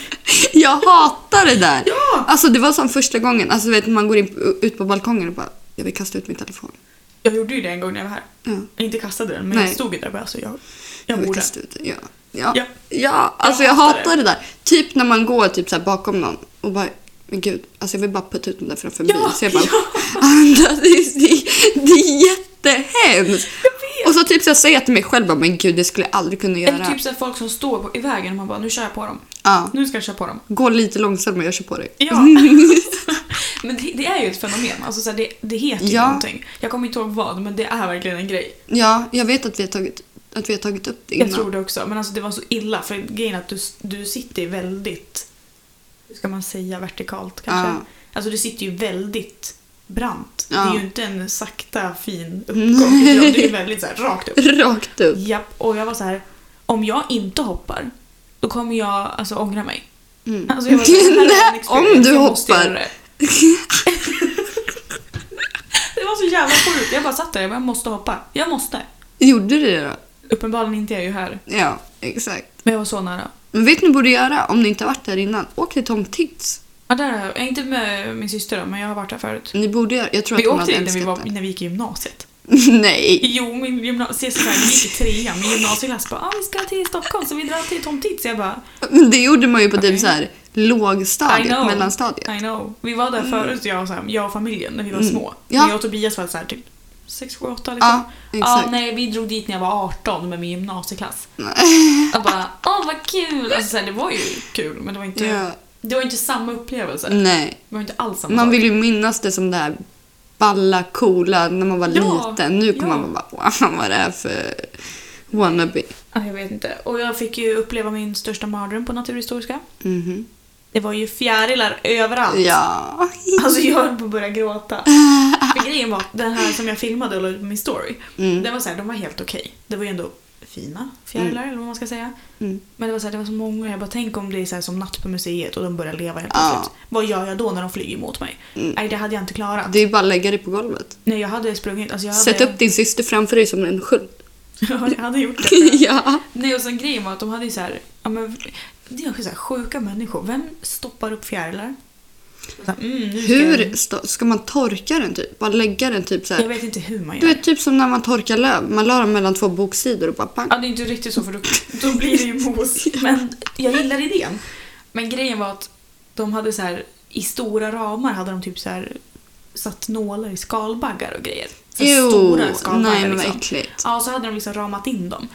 S1: Jag hatar det där.
S2: Ja.
S1: Alltså det var som första gången. Alltså du vet man går in, ut på balkongen och bara jag vill kasta ut min telefon.
S2: Jag gjorde ju det en gång när jag var här.
S1: Ja.
S2: Jag inte kastade den, men
S1: Mm. Nej.
S2: jag stod ju där och bara, alltså, jag,
S1: Jag
S2: jag
S1: vill
S2: borde.
S1: kasta ut den. Ja. Ja.
S2: Ja.
S1: ja. Alltså jag, hatar det. där. Typ när man går typ så här bakom någon och bara men gud, alltså jag vill bara putta ut den där framför
S2: Ja,
S1: bilen. Så jag bara
S2: ja.
S1: andas. Det är, det är- det är jättehemskt. Och så typ så jag säger jag till mig själv bara men gud det skulle jag aldrig kunna göra.
S2: Eller typ så här folk som står på, i vägen och man bara, nu kör jag på dem.
S1: ja.
S2: Nu ska jag köra på dem.
S1: Gå lite långsammare jag kör på dig.
S2: Ja. men det, det är ju ett fenomen. Alltså, så här, det, det heter ju
S1: Ja.
S2: någonting. Jag kommer inte ihåg vad, men det är verkligen en grej.
S1: Ja, jag vet att vi har tagit, att vi har tagit upp det innan.
S2: Jag tror det också. Men alltså det var så illa, för grejen är att du, du sitter ju väldigt, hur ska man säga, vertikalt kanske?
S1: Ja.
S2: Alltså du sitter ju väldigt brant.
S1: Ja.
S2: Det är ju inte en sakta fin uppgång. utan Det är ju väldigt så här, rakt upp.
S1: Rakt upp.
S2: Japp, och jag var så här, om jag inte hoppar, då kommer jag alltså ångra mig.
S1: Mm.
S2: Alltså jag var så här, "Det här är en experience,
S1: Om du
S2: jag måste
S1: hoppar.
S2: göra Det. det var så jävla sjukt. Jag bara satt där, jag bara, jag måste hoppa. Jag måste.
S1: Gjorde du det då?
S2: Uppenbarligen inte är jag ju här.
S1: Ja, exakt.
S2: Men jag var så nära.
S1: Men vet ni vad ni borde göra om ni inte har varit där innan? Åk till Tom Tits.
S2: Ja, där är jag. jag är inte med min syster då, men jag har varit där förut.
S1: Ni borde göra Jag tror
S2: Vi
S1: Mm. att typ. hon hade
S2: åkte dit när vi,
S1: älskat
S2: var,
S1: det.
S2: när vi gick i gymnasiet.
S1: Nej.
S2: Jo, min gymnasieklass, vi gick i trean, min gymnasieklass bara ah, vi ska till Stockholm så vi drar till Tom Tits. Jag bara
S1: Men det gjorde man ju på typ
S2: Okej.
S1: så här
S2: I
S1: lågstadiet,
S2: know.
S1: mellanstadiet.
S2: I know. Vi var där förut, jag och, så här, jag och familjen, när vi var
S1: Mm.
S2: små.
S1: Ja.
S2: Jag och Tobias var så här, typ 6, 7, 8 liksom.
S1: Ja,
S2: Ja,
S1: exakt.
S2: nej, vi drog dit när jag var 18 med min gymnasieklass. Jag bara, åh vad kul! Alltså, så här, det var ju kul, men det var inte,
S1: Ja.
S2: det var inte samma upplevelse.
S1: Nej.
S2: Det var inte alls samma
S1: Man
S2: sak.
S1: vill ju minnas det som det här balla, coola när man var
S2: Ja,
S1: liten. Nu kommer
S2: ja.
S1: man bara wow, vad är det här för wannabe?
S2: Ja, Jag vet inte. Och jag fick ju uppleva min största mardröm på Naturhistoriska.
S1: Mhm.
S2: Det var ju fjärilar överallt.
S1: Ja.
S2: Alltså jag höll på att börja gråta. För grejen var, att den här som jag filmade och la ut på min story,
S1: Mm.
S2: den var så här, de var helt okej. Det var ju ändå fina fjärilar eller vad man ska säga.
S1: Mm.
S2: Men det var så, här, det var så många, jag bara tänk om det är så här som natt på museet och de börjar leva helt
S1: Ja. Mm.
S2: plötsligt. Vad gör jag då när de flyger mot mig? Nej, det hade jag inte klarat.
S1: Det är ju bara att lägga dig på golvet.
S2: Nej, jag hade sprungit. Alltså, jag hade...
S1: Sätt upp din syster framför dig som en sköld.
S2: Ja, jag hade gjort det.
S1: ja.
S2: Nej, och sen grejen var att de hade ju så här, ja men, det är ju så här sjuka människor. Vem stoppar upp fjärilar? Så här, Mm, nu ska
S1: Hur
S2: Jag,
S1: sta- ska man torka den typ? Bara lägga den typ så
S2: jag
S1: här.
S2: vet inte hur man gör.
S1: Du vet typ som när man torkar löv. Man la dem mellan två boksidor och bara pang.
S2: Ja, det är inte riktigt så för då, då blir det ju mos. Men jag gillar idén. Men grejen var att de hade så här, i stora ramar hade de typ så här satt nålar i skalbaggar och grejer. Så här
S1: Ew,
S2: stora skalbaggar
S1: nej men vad
S2: liksom.
S1: äckligt.
S2: Ja, och så hade de liksom ramat in dem.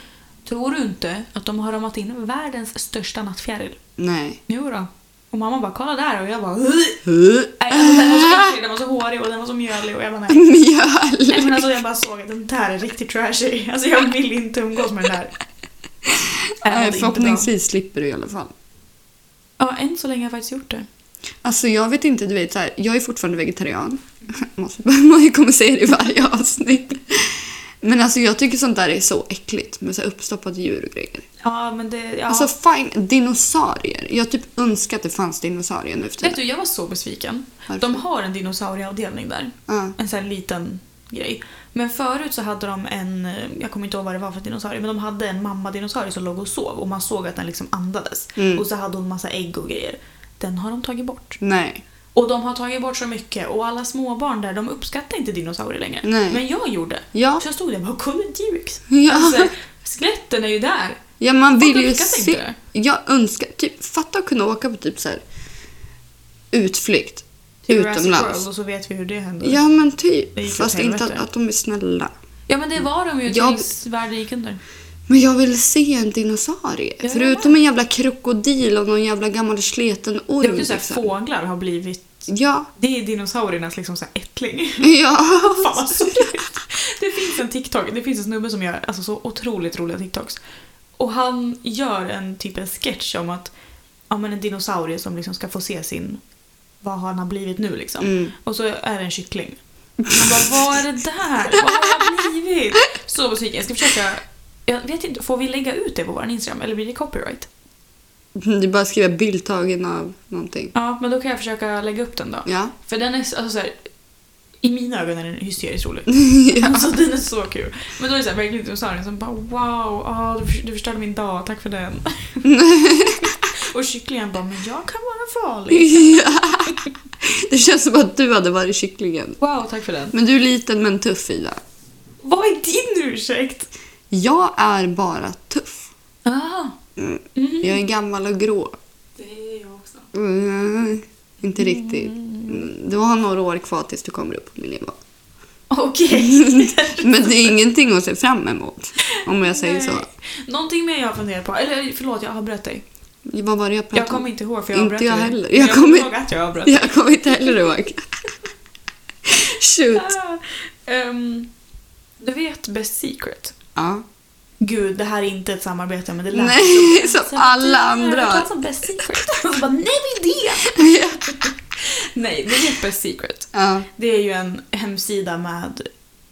S2: Tror du inte att de har ramat in världens största nattfjäril?
S1: Nej.
S2: Jo då. Och mamma bara kolla där och jag bara "Ugh."
S1: Huh?
S2: Nej, alltså, den var så äcklig, den var så hårig och den var så mjölig och jag bara nej. Nej men
S1: Mjöl.
S2: alltså jag bara såg att den där är riktigt trashy. Alltså jag vill inte umgås med den där. Äh, det är
S1: Nej,
S2: inte
S1: Förhoppningsvis slipper du i alla fall.
S2: bra. Ja, än så länge har jag faktiskt gjort det.
S1: Alltså jag vet inte, du vet så här, jag är fortfarande vegetarian. Måste- Man kommer säga det i varje avsnitt. Men alltså jag tycker sånt där är så äckligt med så här uppstoppade djur och grejer.
S2: Ja men det, ja.
S1: Alltså fine, dinosaurier. Jag typ önskar att det fanns dinosaurier nu för
S2: Vet
S1: tiden.
S2: du, jag var så besviken.
S1: Varför?
S2: De har en dinosaurieavdelning där.
S1: Ja.
S2: En sån här liten grej. Men förut så hade de en, eh, jag kommer inte ihåg vad det var för dinosaurie, men de hade en mamma-dinosaurie som låg och sov och man såg att den liksom andades.
S1: Mm.
S2: Och så hade hon massa ägg och grejer. Den har de tagit bort.
S1: Nej.
S2: Och de har tagit bort så mycket och alla småbarn där de uppskattar inte dinosaurier längre.
S1: Nej.
S2: Men jag gjorde.
S1: Ja.
S2: Så jag stod där och bara “kolla T-rex”.
S1: Ja.
S2: Alltså, skeletten är ju där.
S1: Ja, man
S2: Folk
S1: vill ju
S2: uppskattar
S1: se.
S2: inte det.
S1: Jag önskar, typ, fatta att kunna åka på typ så här utflykt
S2: Till Jurassic World
S1: utomlands.
S2: och så vet vi hur det händer.
S1: Ja, men
S2: Det gick
S1: typ.
S2: åt
S1: Fast inte att,
S2: helvete.
S1: att de är snälla.
S2: Ja, men det var de ju
S1: Jag-
S2: tills världen gick under.
S1: Men jag vill se en dinosaurie.
S2: Ja,
S1: Förutom en jävla krokodil och någon jävla gammal sleten orm.
S2: Det är också så här,
S1: liksom.
S2: fåglar har blivit...
S1: Ja,
S2: Det är dinosauriernas liksom så här ättling.
S1: ja.
S2: Fan vad sorgligt. Det finns en TikTok, det finns en snubbe som gör alltså, så otroligt roliga TikToks. Och han gör en typ en sketch om att ja, men en dinosaurie som liksom ska få se sin vad han har blivit nu liksom.
S1: Mm.
S2: Och så är det en kyckling. Man bara, vad är det där? Vad har jag blivit? Så besviken. Jag ska försöka... Jag vet inte, får vi lägga ut det på vår Instagram eller blir det copyright?
S1: Det är bara att skriva bild tagen av någonting.
S2: Ja, men då kan jag försöka lägga upp den då.
S1: Ja.
S2: För den är alltså så här, I mina ögon är den hysteriskt rolig. Alltså den är så kul. Men då är det så här, verkligen dinosaurien som bara wow, ah, du, för, du förstörde min dag, tack för den. och kycklingen bara, men jag kan vara farlig.
S1: ja. Det känns som att du hade varit kycklingen.
S2: Wow, tack för den.
S1: Men du är liten men tuff, Ida.
S2: Vad är din ursäkt?
S1: Jag är bara tuff.
S2: Ah,
S1: Mm.
S2: mm.
S1: Jag är gammal och grå.
S2: Det är jag också.
S1: Mm, inte riktigt. Mm, Du har några år kvar tills du kommer upp på min nivå.
S2: Okej.
S1: Men det är ingenting att se fram emot, om jag säger så.
S2: Nej. Någonting mer jag har funderat på, eller förlåt jag avbröt dig.
S1: Vad var det jag pratade
S2: Jag kommer inte ihåg för jag
S1: Inte
S2: avbröt
S1: jag
S2: dig.
S1: heller.
S2: Men
S1: Jag
S2: Jag
S1: kommer-
S2: kommer ihåg att jag avbröt dig.
S1: Jag kommer inte heller ihåg. Shoot.
S2: Ah, ehm, du vet Best Secret?
S1: Ja.
S2: Gud, det här är inte ett samarbete men det lät
S1: Nej, som
S2: Så jag bara,
S1: alla
S2: "Du,
S1: andra.
S2: Jag som Best Secret. Och så bara, nej det är det! Nej, du vet Best Secret.
S1: ja.
S2: Det är ju en hemsida med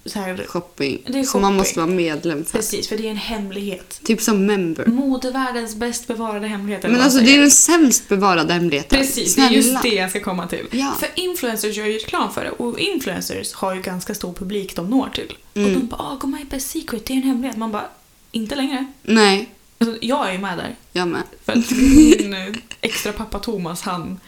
S2: så här,
S1: Shopping.
S2: Det är
S1: Som man
S2: shopping.
S1: måste vara medlem för.
S2: precis, Mm. för det är en hemlighet.
S1: Typ som member.
S2: Modevärldens bäst bevarade hemlighet. eller
S1: Men
S2: vad
S1: alltså
S2: man
S1: det är
S2: säger.
S1: den sämst bevarade hemligheten.
S2: Precis, det är just det jag ska komma till.
S1: Ja.
S2: För influencers gör ju reklam för det och influencers har ju ganska stor publik de når till.
S1: Mm.
S2: Och de bara ah, “Gå med i Best Secret, det är en hemlighet”. Man bara “Inte längre”.
S1: Nej,
S2: Alltså, jag är ju med där.
S1: jag med.
S2: För att min eh, extra pappa Thomas han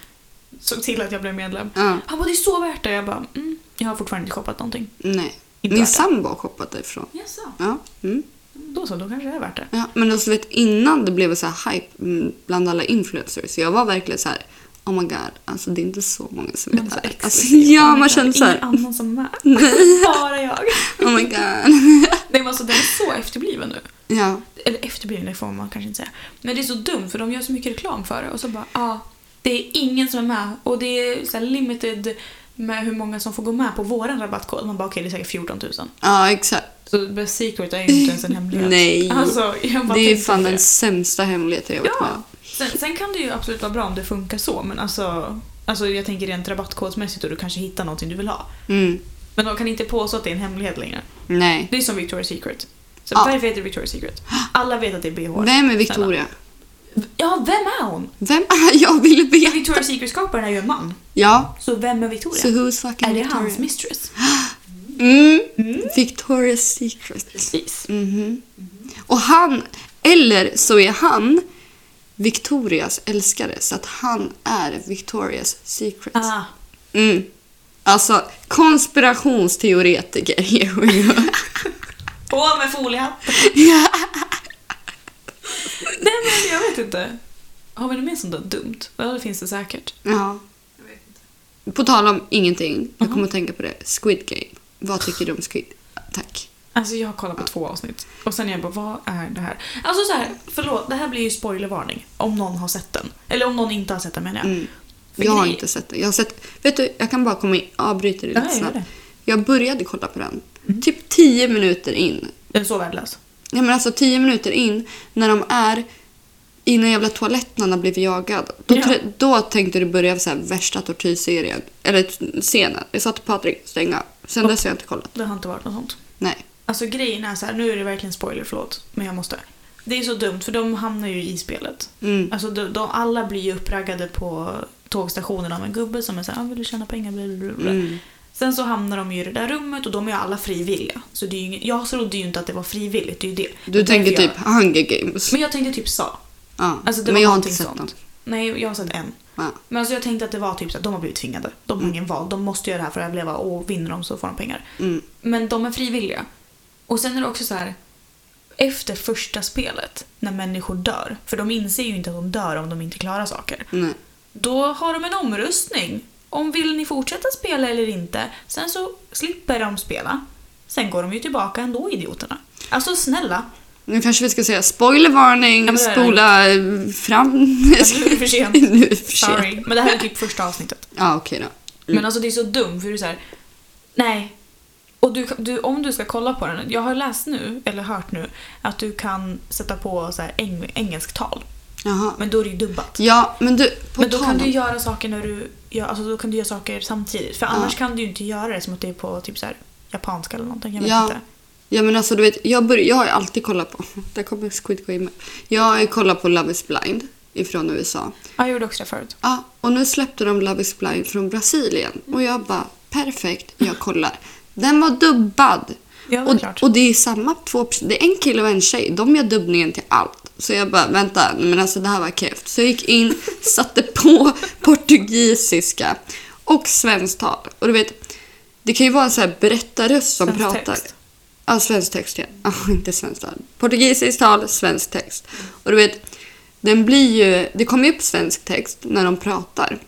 S2: såg till att jag blev medlem.
S1: Ja,
S2: Han bara, det är så värt det. Jag bara, mm, jag har fortfarande inte shoppat någonting.
S1: nej.
S2: Inte
S1: Min
S2: värt det.
S1: sambo har shoppat därifrån.
S2: Jaså?
S1: Ja, mm.
S2: Då så, då kanske det är värt det.
S1: ja. Men alltså vet innan det blev så här hype mm, bland alla influencers. Jag var verkligen så här. Oh my god, alltså det är inte så många som vet
S2: Man
S1: det
S2: så
S1: här. Alltså,
S2: exklusiv.
S1: ja,
S2: Oh my
S1: man
S2: God,
S1: kände så
S2: Ingen
S1: här.
S2: annan som är Bara jag.
S1: Oh my god.
S2: Nej men alltså den är så efterbliven nu.
S1: Ja,
S2: Eller efterbliven, det får man kanske inte säga. Men det är så dumt för de gör så mycket reklam för det och så bara, ja. Ah, det är ingen som är med och det är så här limited med hur många som får gå med på våran rabattkod. Man bara, okej det är säkert 14 000.
S1: ja exakt.
S2: Så Best Secret är ju inte ens en hemlighet.
S1: Nej.
S2: Alltså, jag bara
S1: Det är ju
S2: tänkte
S1: fan
S2: på
S1: den
S2: det.
S1: sämsta hemligheten jag varit med
S2: Ja.
S1: om.
S2: Sen, sen kan det ju absolut vara bra om det funkar så, men alltså, alltså jag tänker rent rabattkodsmässigt och du kanske hittar någonting du vill ha.
S1: Mm.
S2: Men de kan inte påstå att det är en hemlighet längre.
S1: Nej.
S2: Det är som Victoria's Secret. Så
S1: Ja.
S2: Varför heter det Victoria's Secret? Alla vet att det är bh.
S1: Vem är Victoria?
S2: Snälla. Ja, vem är hon?
S1: Vem är jag ville veta?
S2: Victoria's Secret-skaparen är ju en man.
S1: Ja.
S2: Så vem är Victoria?
S1: So who's fucking
S2: är det
S1: Victoria?
S2: hans mistress?
S1: Mm. Victoria's Secret.
S2: Precis.
S1: Mhm. Och han, eller så är han Victorias älskare, så att han är Victorias Secret.
S2: Ah,
S1: Mm. Alltså, konspirationsteoretiker. here we go.
S2: på med foliehatten! Nej men jag vet inte. Har vi något mer sånt där dumt? Ja, det finns det säkert.
S1: ja. På tal om ingenting,
S2: Mhm.
S1: jag kommer att tänka på det. Squid Game. Vad tycker du om Squid? Tack.
S2: Alltså jag har kollat på två avsnitt och sen är jag bara vad är det här? Alltså så här, förlåt, det här blir ju spoilervarning om någon har sett den. Eller om någon inte har sett den menar jag.
S1: Mm.
S2: För
S1: Jag har
S2: grej-
S1: inte sett den. Jag har sett... Vet du, jag kan bara komma in, avbryta dig
S2: Ja,
S1: lite
S2: jag gör
S1: snabbt.
S2: det. Mhm.
S1: Jag började kolla på den. Typ 10 minuter in.
S2: Den är så värdelös.
S1: Ja, men alltså 10 minuter in, när de är i någon jävla toalett när han har blivit jagad. Då,
S2: Ja.
S1: trä- då tänkte du börja så här värsta tortyrserien. Eller t- scenen. Jag sa till Patrik, stäng av. Sen dess har jag inte kollat.
S2: Det har inte varit något sånt.
S1: Nej.
S2: Alltså grejen är så här, nu är det verkligen spoiler, förlåt, men jag måste. Det är så dumt för de hamnar ju i spelet.
S1: Mm.
S2: Alltså de, de alla blir ju uppraggade på tågstationen av en gubbe som är såhär, ah, vill du tjäna pengar? Bla, bla, bla, bla.
S1: Mm.
S2: Sen så hamnar de ju i det där rummet och de är ju alla frivilliga. Så det är ju ingen, jag trodde ju inte att det var frivilligt, det är ju det.
S1: Du
S2: Det är
S1: tänker
S2: därför
S1: typ
S2: jag-
S1: Hunger Games.
S2: Men jag tänkte typ sa.
S1: ja.
S2: Alltså det
S1: men
S2: var
S1: jag har
S2: någonting
S1: inte sett
S2: sånt.
S1: den.
S2: Nej, jag har sett en.
S1: Ja.
S2: Men alltså jag tänkte att det var typ så att de har blivit tvingade. De har ingen val. De måste göra det här för att överleva och vinner de så får de pengar.
S1: Mm.
S2: Men de är frivilliga. Och sen är det också så här. Efter första spelet, när människor dör, för de inser ju inte att de dör om de inte klarar saker.
S1: Nej.
S2: Då har de en omröstning. Om vill ni fortsätta spela eller inte? Sen så slipper de spela. Sen går de ju tillbaka ändå, idioterna. Alltså snälla.
S1: Nu kanske vi ska säga spoiler warning,
S2: Ja, men det är det.
S1: spola eh, fram.
S2: Nu är det för sent.
S1: nu är det för sent. Mm.
S2: Sorry. Men det här är typ första avsnittet.
S1: Ja, okej då.
S2: Men alltså det är så dumt för du är så här. Nej. Och du, du, om du ska kolla på den, jag har läst nu, eller hört nu, att du kan sätta på så här eng, engelskt tal.
S1: Jaha.
S2: Men då är det ju dubbat.
S1: Ja, men du, på
S2: Men då
S1: tal
S2: kan du
S1: om-
S2: göra saker när du gör, alltså då kan du göra saker samtidigt. För annars kan du ju inte göra det som att det är på typ så här japanska eller någonting. Jag vet
S1: Ja.
S2: inte.
S1: Ja men alltså du vet, jag, bör, jag har ju alltid kollat på, där kommer Squid Game. Jag har ju kollat på Love is blind ifrån USA.
S2: Ja, jag gjorde också det förut.
S1: Ja, "Ah, och nu släppte de Love is blind från Brasilien och jag bara perfekt, jag kollar. Den var dubbad.
S2: Ja, det är
S1: och,
S2: klart.
S1: och det är samma två, pers- det är en kille och en tjej, de gör dubbningen till allt. Så jag bara vänta, men alltså det här var kräft. Så jag gick in, satte på portugisiska och svenskt tal. Och du vet, det kan ju vara en sån här berättarröst som
S2: Svensk
S1: pratar.
S2: text.
S1: Ja, svensk text ja. Ja, inte svensk tal. Portugisiskt tal, svensk text. Och du vet, den blir ju, det kommer ju upp svensk text när de pratar.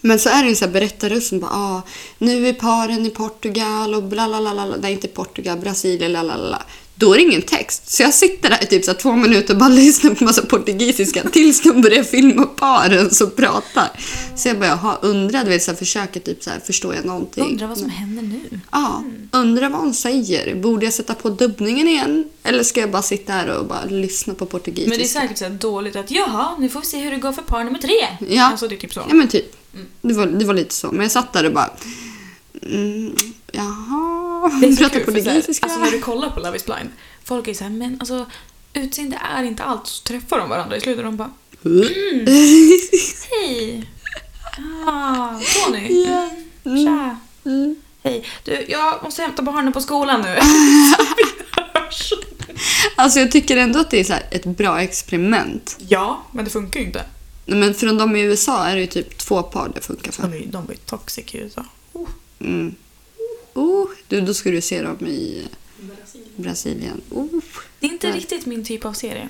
S1: Men så är det ju så här berättarröst som bara ah, nu är paren i Portugal och bla bla bla bla. Nej, inte Portugal, Brasilien, la la la, la. Då är det ingen text. Så jag sitter där i typ så här två minuter och bara lyssnar på massa portugisiska tills de börjar filma paren som pratar. Så jag bara, jaha, undrar, du vet, så här, försöker typ så här, förstår jag någonting?
S2: Undrar vad som händer nu.
S1: Ja,
S2: Mm.
S1: undrar vad hon säger. Borde jag sätta på dubbningen igen? Eller ska jag bara sitta här och bara lyssna på portugisiska?
S2: Men det är säkert så här dåligt att jaha, nu får vi se hur det går för par nummer tre.
S1: Ja.
S2: Alltså det är typ så.
S1: Ja men typ. Det var, det var lite så. Men jag satt där och bara... Mm, jaha...
S2: Det är så
S1: pratar
S2: kul, för så här,
S1: portugisiska.
S2: alltså när du kollar på Love is blind, folk är såhär, men alltså utseende är inte allt. Så träffar de varandra i slutet och de bara, hej! Ah, Tony!
S1: Ja.
S2: Mm. Tja!
S1: Mm.
S2: Hej! Du, jag måste hämta barnen på skolan nu. Så vi hörs.
S1: Alltså jag tycker ändå att det är så här ett bra experiment.
S2: ja, men det funkar ju inte.
S1: Nej, Men från de i USA är det ju typ två par det funkar för.
S2: De är ju de är ju toxic i USA. Oh.
S1: Mm. Oh, du, då ska du se dem i Brasilien. Oh.
S2: Det är inte
S1: Nej.
S2: riktigt min typ av serie.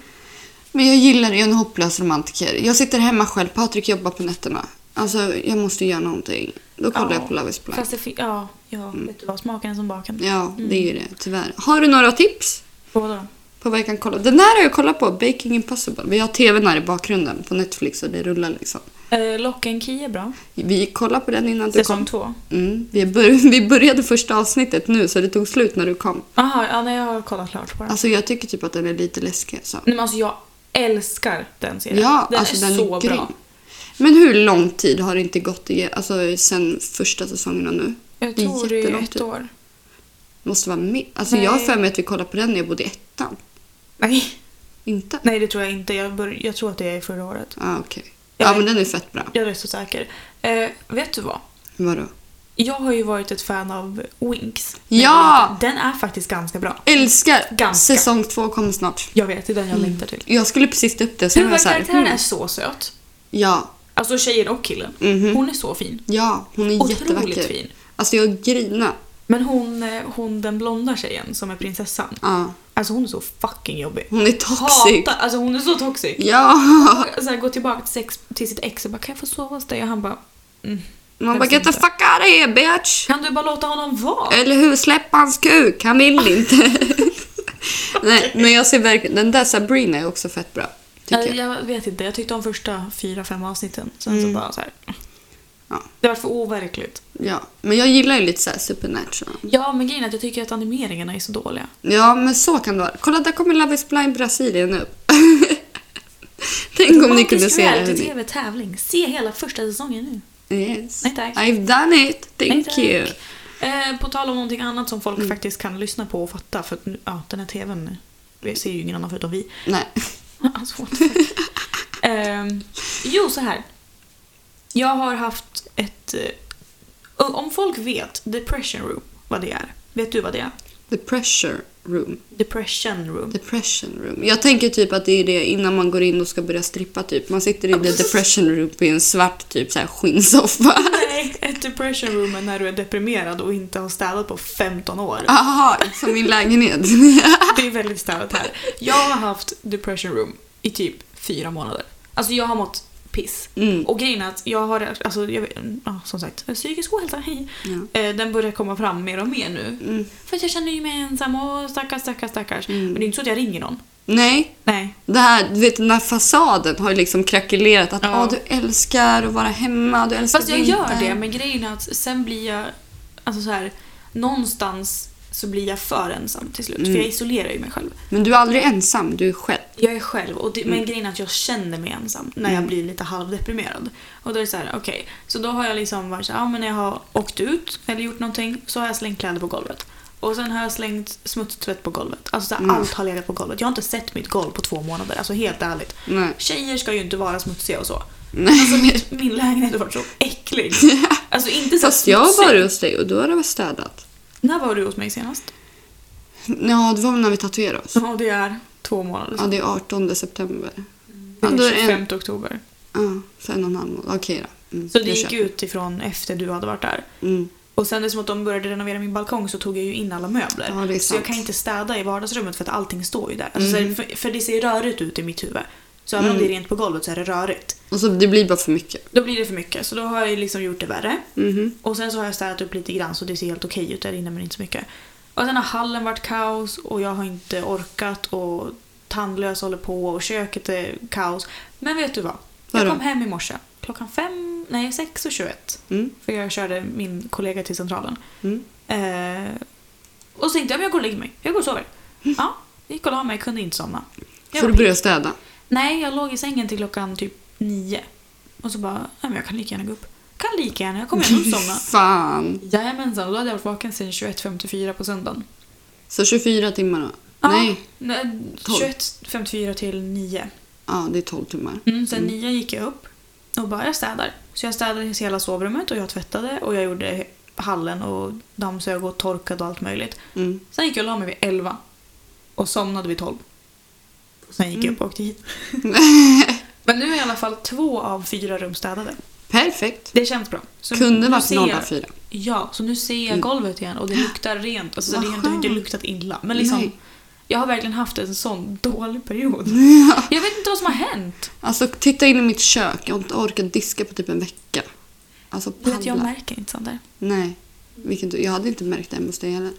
S1: Men jag gillar en hopplös romantiker. Jag sitter hemma själv, Patrik jobbar på nätterna. Alltså jag måste göra någonting. Då kollar
S2: Ja,
S1: jag på Love is blind.
S2: Fast Mm. det fin- ja, ja vet du vad, smaken är som baken.
S1: Mm. Ja, det är ju det tyvärr. Har du några tips
S2: Båda.
S1: på vad jag kan kolla? Den här har jag kollat på, Baking Impossible. Vi har tvn här i bakgrunden på Netflix och det rullar liksom.
S2: Eh, Locken Key är bra.
S1: Vi kollade på den innan du
S2: Säsong
S1: kom.
S2: två.
S1: Mm, vi, bör- vi började första avsnittet nu så det tog slut när du kom.
S2: Aha, ja, nej, jag har kollat klart på den.
S1: Alltså jag tycker typ att den är lite läskig. Så.
S2: Nej, men alltså jag älskar den serien.
S1: Ja,
S2: den
S1: alltså
S2: är
S1: den
S2: så
S1: är grym.
S2: bra.
S1: Men hur lång tid har det inte gått igen, alltså, sen första säsongen och nu?
S2: Jag
S1: Det är
S2: tror det är
S1: jättelång typ.
S2: ett
S1: tid.
S2: år.
S1: Måste vara med. Alltså
S2: Nej.
S1: jag har för mig att vi kollade på den när jag bodde i ettan.
S2: Nej,
S1: Inte?
S2: nej det tror jag inte. Jag, bör, jag tror att det är förra året.
S1: Ah, okej.
S2: Jag
S1: Ja
S2: vet.
S1: men den är fett bra.
S2: Jag är rätt så säker. Eh, vet du vad?
S1: Vadå?
S2: Jag har ju varit ett fan av Winx.
S1: Ja!
S2: Den är faktiskt ganska bra.
S1: Älskar!
S2: Ganska.
S1: Säsong två kommer snart.
S2: Jag vet, det är den jag
S1: Mm.
S2: längtar till.
S1: Jag skulle precis ta upp det sen var jag så här,
S2: Huvudkaraktären är
S1: mm.
S2: så söt.
S1: Ja,
S2: Alltså tjejen och killen.
S1: Mhm.
S2: Hon är så fin.
S1: ja. Hon är
S2: Otroligt
S1: jättevacker.
S2: fin.
S1: Alltså jag grina.
S2: Men hon, eh, hon den blonda tjejen som är prinsessan.
S1: Ja.
S2: Alltså hon är så fucking jobbig.
S1: Hon är toxic.
S2: Hatar, alltså hon är så toxic.
S1: Ja!
S2: så här, gå tillbaka till, sex, till sitt ex och bara kan jag få sova hos dig? Och han bara mm.
S1: Man bara
S2: helst
S1: get the
S2: inte."
S1: fuck out of here bitch!
S2: Kan du bara låta honom vara?
S1: Eller hur? Släpp hans kuk, han vill inte. Nej, men jag ser verkligen, den där Sabrina är också fett bra. Tycker
S2: Jag.
S1: jag.
S2: jag vet inte, jag tyckte om första fyra, fem avsnitten. Sen
S1: Mm.
S2: så bara så här.
S1: Ja.
S2: Det var för overkligt.
S1: Ja, men jag gillar ju lite så här supernatural.
S2: Ja, men grejen är att jag tycker att animeringarna är så dåliga.
S1: Ja, men så kan det vara. Kolla, där kommer Love is blind Brasilien upp. Tänk om ni kunde se det. hörni.
S2: TV-tävling. Se hela första säsongen nu.
S1: Yes.
S2: Nej, tack.
S1: I've done it. Thank
S2: Nej, tack.
S1: you. Mm.
S2: Eh, på tal om någonting annat som folk faktiskt kan lyssna på och fatta för att nu, ja, den här TVn vi ser ju ingen annan förutom vi.
S1: Nej.
S2: Alltså, what the fuck. Ehm, jo, så här. Jag har haft ett... eh, Om folk vet depression room, vad det är. Vet du vad det är?
S1: The pressure room.
S2: Depression room.
S1: Depression room. Jag tänker typ att det är det innan man går in och ska börja strippa typ. Man sitter i the depression room i en svart typ så här skinnsoffa.
S2: Nej, ett depression room är när du är deprimerad och inte har städat på 15 år.
S1: Aha, som min lägenhet.
S2: Det är väldigt städat här. Jag har haft depression room i typ fyra månader. Alltså jag har mått piss.
S1: Mm.
S2: Och grejen är att jag har, alltså, jag, vet- ja, som sagt, psykisk ohälsa, hej.
S1: Ja.
S2: Eh, Den börjar komma fram mer och mer nu.
S1: Mm.
S2: För att jag känner ju mig ensam och stackars, stackars, stackars.
S1: Mm.
S2: Men det är inte så att jag ringer någon.
S1: Nej,
S2: Nej.
S1: det här, du vet den här fasaden har ju liksom krackelerat att
S2: Ja.
S1: ah, du älskar att vara hemma, du älskar
S2: Fast jag gör
S1: vintern."
S2: det, men grejen är att sen blir jag, alltså så här, någonstans så blir jag för ensam till slut.
S1: Mm.
S2: För jag isolerar ju mig själv.
S1: Men du är aldrig ensam, du är själv.
S2: Jag är själv, och det, men grejen är att jag känner mig ensam när jag
S1: Mm.
S2: blir lite halvdeprimerad. Och då är det så här, okej. Så då har jag liksom varit så här, ja men när jag har åkt ut eller gjort någonting så har jag slängt kläder på golvet. Och sen har jag slängt smutstvätt på golvet. Alltså så här,
S1: Mm.
S2: allt har legat på golvet. Jag har inte sett mitt golv på två månader, alltså helt ärligt.
S1: Nej.
S2: Tjejer ska ju inte vara smutsiga och så.
S1: Nej.
S2: Alltså mitt, min lägenhet har varit så äcklig. Alltså inte så
S1: Fast jag
S2: smutsig.
S1: var varit hos dig och då har det varit städat.
S2: När var du hos mig senast?
S1: Ja, det var väl när vi tatuerade oss.
S2: Ja, det är två månader
S1: Ja,
S2: sedan.
S1: det är 18 september.
S2: Det
S1: Ja, då är
S2: är
S1: det en-
S2: 25 oktober.
S1: Ja, så en och en halv månad. Okej då. Mm,
S2: Så
S1: jag
S2: det gick
S1: köper.
S2: ut ifrån efter du hade varit där.
S1: Mm.
S2: Och sen det som att de började renovera min balkong så tog jag ju in alla möbler.
S1: Ja, det är
S2: så
S1: sant.
S2: jag kan inte städa i vardagsrummet för att allting står ju där. Alltså, så här, för, för det ser rörigt ut i mitt huvud. Så även om
S1: Mm.
S2: det är rent på golvet så är det rörigt.
S1: Och så det blir bara för mycket.
S2: Då blir det för mycket, så då har jag ju liksom gjort det värre.
S1: Mhm.
S2: Och sen så har jag städat upp lite grann så det ser helt okej ut där inne men inte så mycket. Och sen har hallen varit kaos och jag har inte orkat och tandlös håller på och köket är kaos. Men vet du vad? Jag
S1: Vadå?
S2: kom hem i morse klockan fem, nej 6.21.
S1: Mm.
S2: För jag körde min kollega till centralen.
S1: Mm.
S2: Eh, och så tänkte jag men jag går och lägger mig. Jag går och sover. Ja, gick och la mig. Kunde inte somna. Jag
S1: Mm. Så du
S2: var-
S1: började städa.
S2: Nej, jag låg i sängen till klockan typ nio. Och så bara, nej men jag kan lika gärna gå upp. Kan lika gärna, jag kommer ändå inte somna.
S1: Fan.
S2: Jajamensan, och då hade jag varit vaken sedan 21.54 på söndagen.
S1: Så 24 timmar då? Nej.
S2: Nej,
S1: Tolv.
S2: 21.54 till 9.
S1: Ja, det är 12 timmar.
S2: Mm, sen 9 gick jag upp och bara jag städar. Så jag städade hela sovrummet och jag tvättade och jag gjorde hallen och dammsög och torkade och allt möjligt.
S1: Mm.
S2: Sen gick jag och la mig vid 11 och somnade vid 12. Sen gick jag upp och åkte hit. Mm. Men nu är i alla fall två av fyra rum städade.
S1: Perfekt.
S2: Det känns bra. Så
S1: Kunde
S2: nu
S1: varit
S2: ser jag-
S1: 0,4.
S2: Ja, så nu ser jag golvet igen och det luktar rent. Alltså, det
S1: Vad
S2: har inte- det har inte
S1: skönt.
S2: luktat illa. Men liksom,
S1: Nej.
S2: jag har verkligen haft en sån dålig period. Jag vet inte vad som har hänt.
S1: Alltså titta in i mitt kök. Jag har inte orkat diska på typ en vecka. Alltså
S2: Du vet, jag
S1: paddla.
S2: märker inte sånt där.
S1: Nej. Vilket, du- jag hade inte märkt det hemma hos dig heller.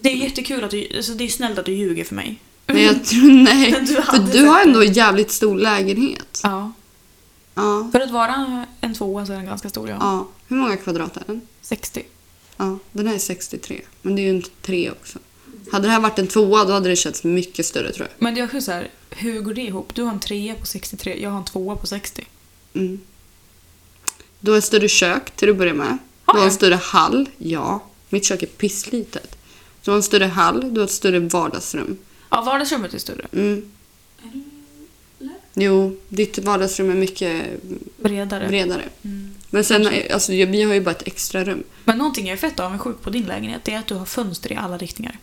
S2: Det är jättekul att du, alltså, det är snällt att du ljuger för mig.
S1: Men jag tror nej.
S2: Men du hade
S1: för du har
S2: sett
S1: ändå en jävligt stor lägenhet.
S2: Ja.
S1: Ja.
S2: För att vara en tvåa så är den ganska stor, ja.
S1: ja. Hur många kvadrat är den?
S2: 60.
S1: Ja, den här är 63. Men det är ju en tre också. Hade det här varit en tvåa då hade det känts mycket större tror jag.
S2: Men det är också så här, hur går det ihop? Du har en trea på 63, jag har en tvåa på 60.
S1: Mm. Du har ett större kök till att börja med.
S2: Har
S1: Du har en
S2: jag?
S1: större hall. Ja, mitt kök är pisslitet. Du har en större hall, du har ett större vardagsrum.
S2: Ja, vardagsrummet är större.
S1: Mm. Jo, ditt vardagsrum är mycket
S2: Bredare.
S1: bredare.
S2: Mm.
S1: Men sen, alltså, vi har ju bara ett extra rum.
S2: Men någonting jag är fett avundsjuk på din lägenhet det är att du har fönster i alla riktningar.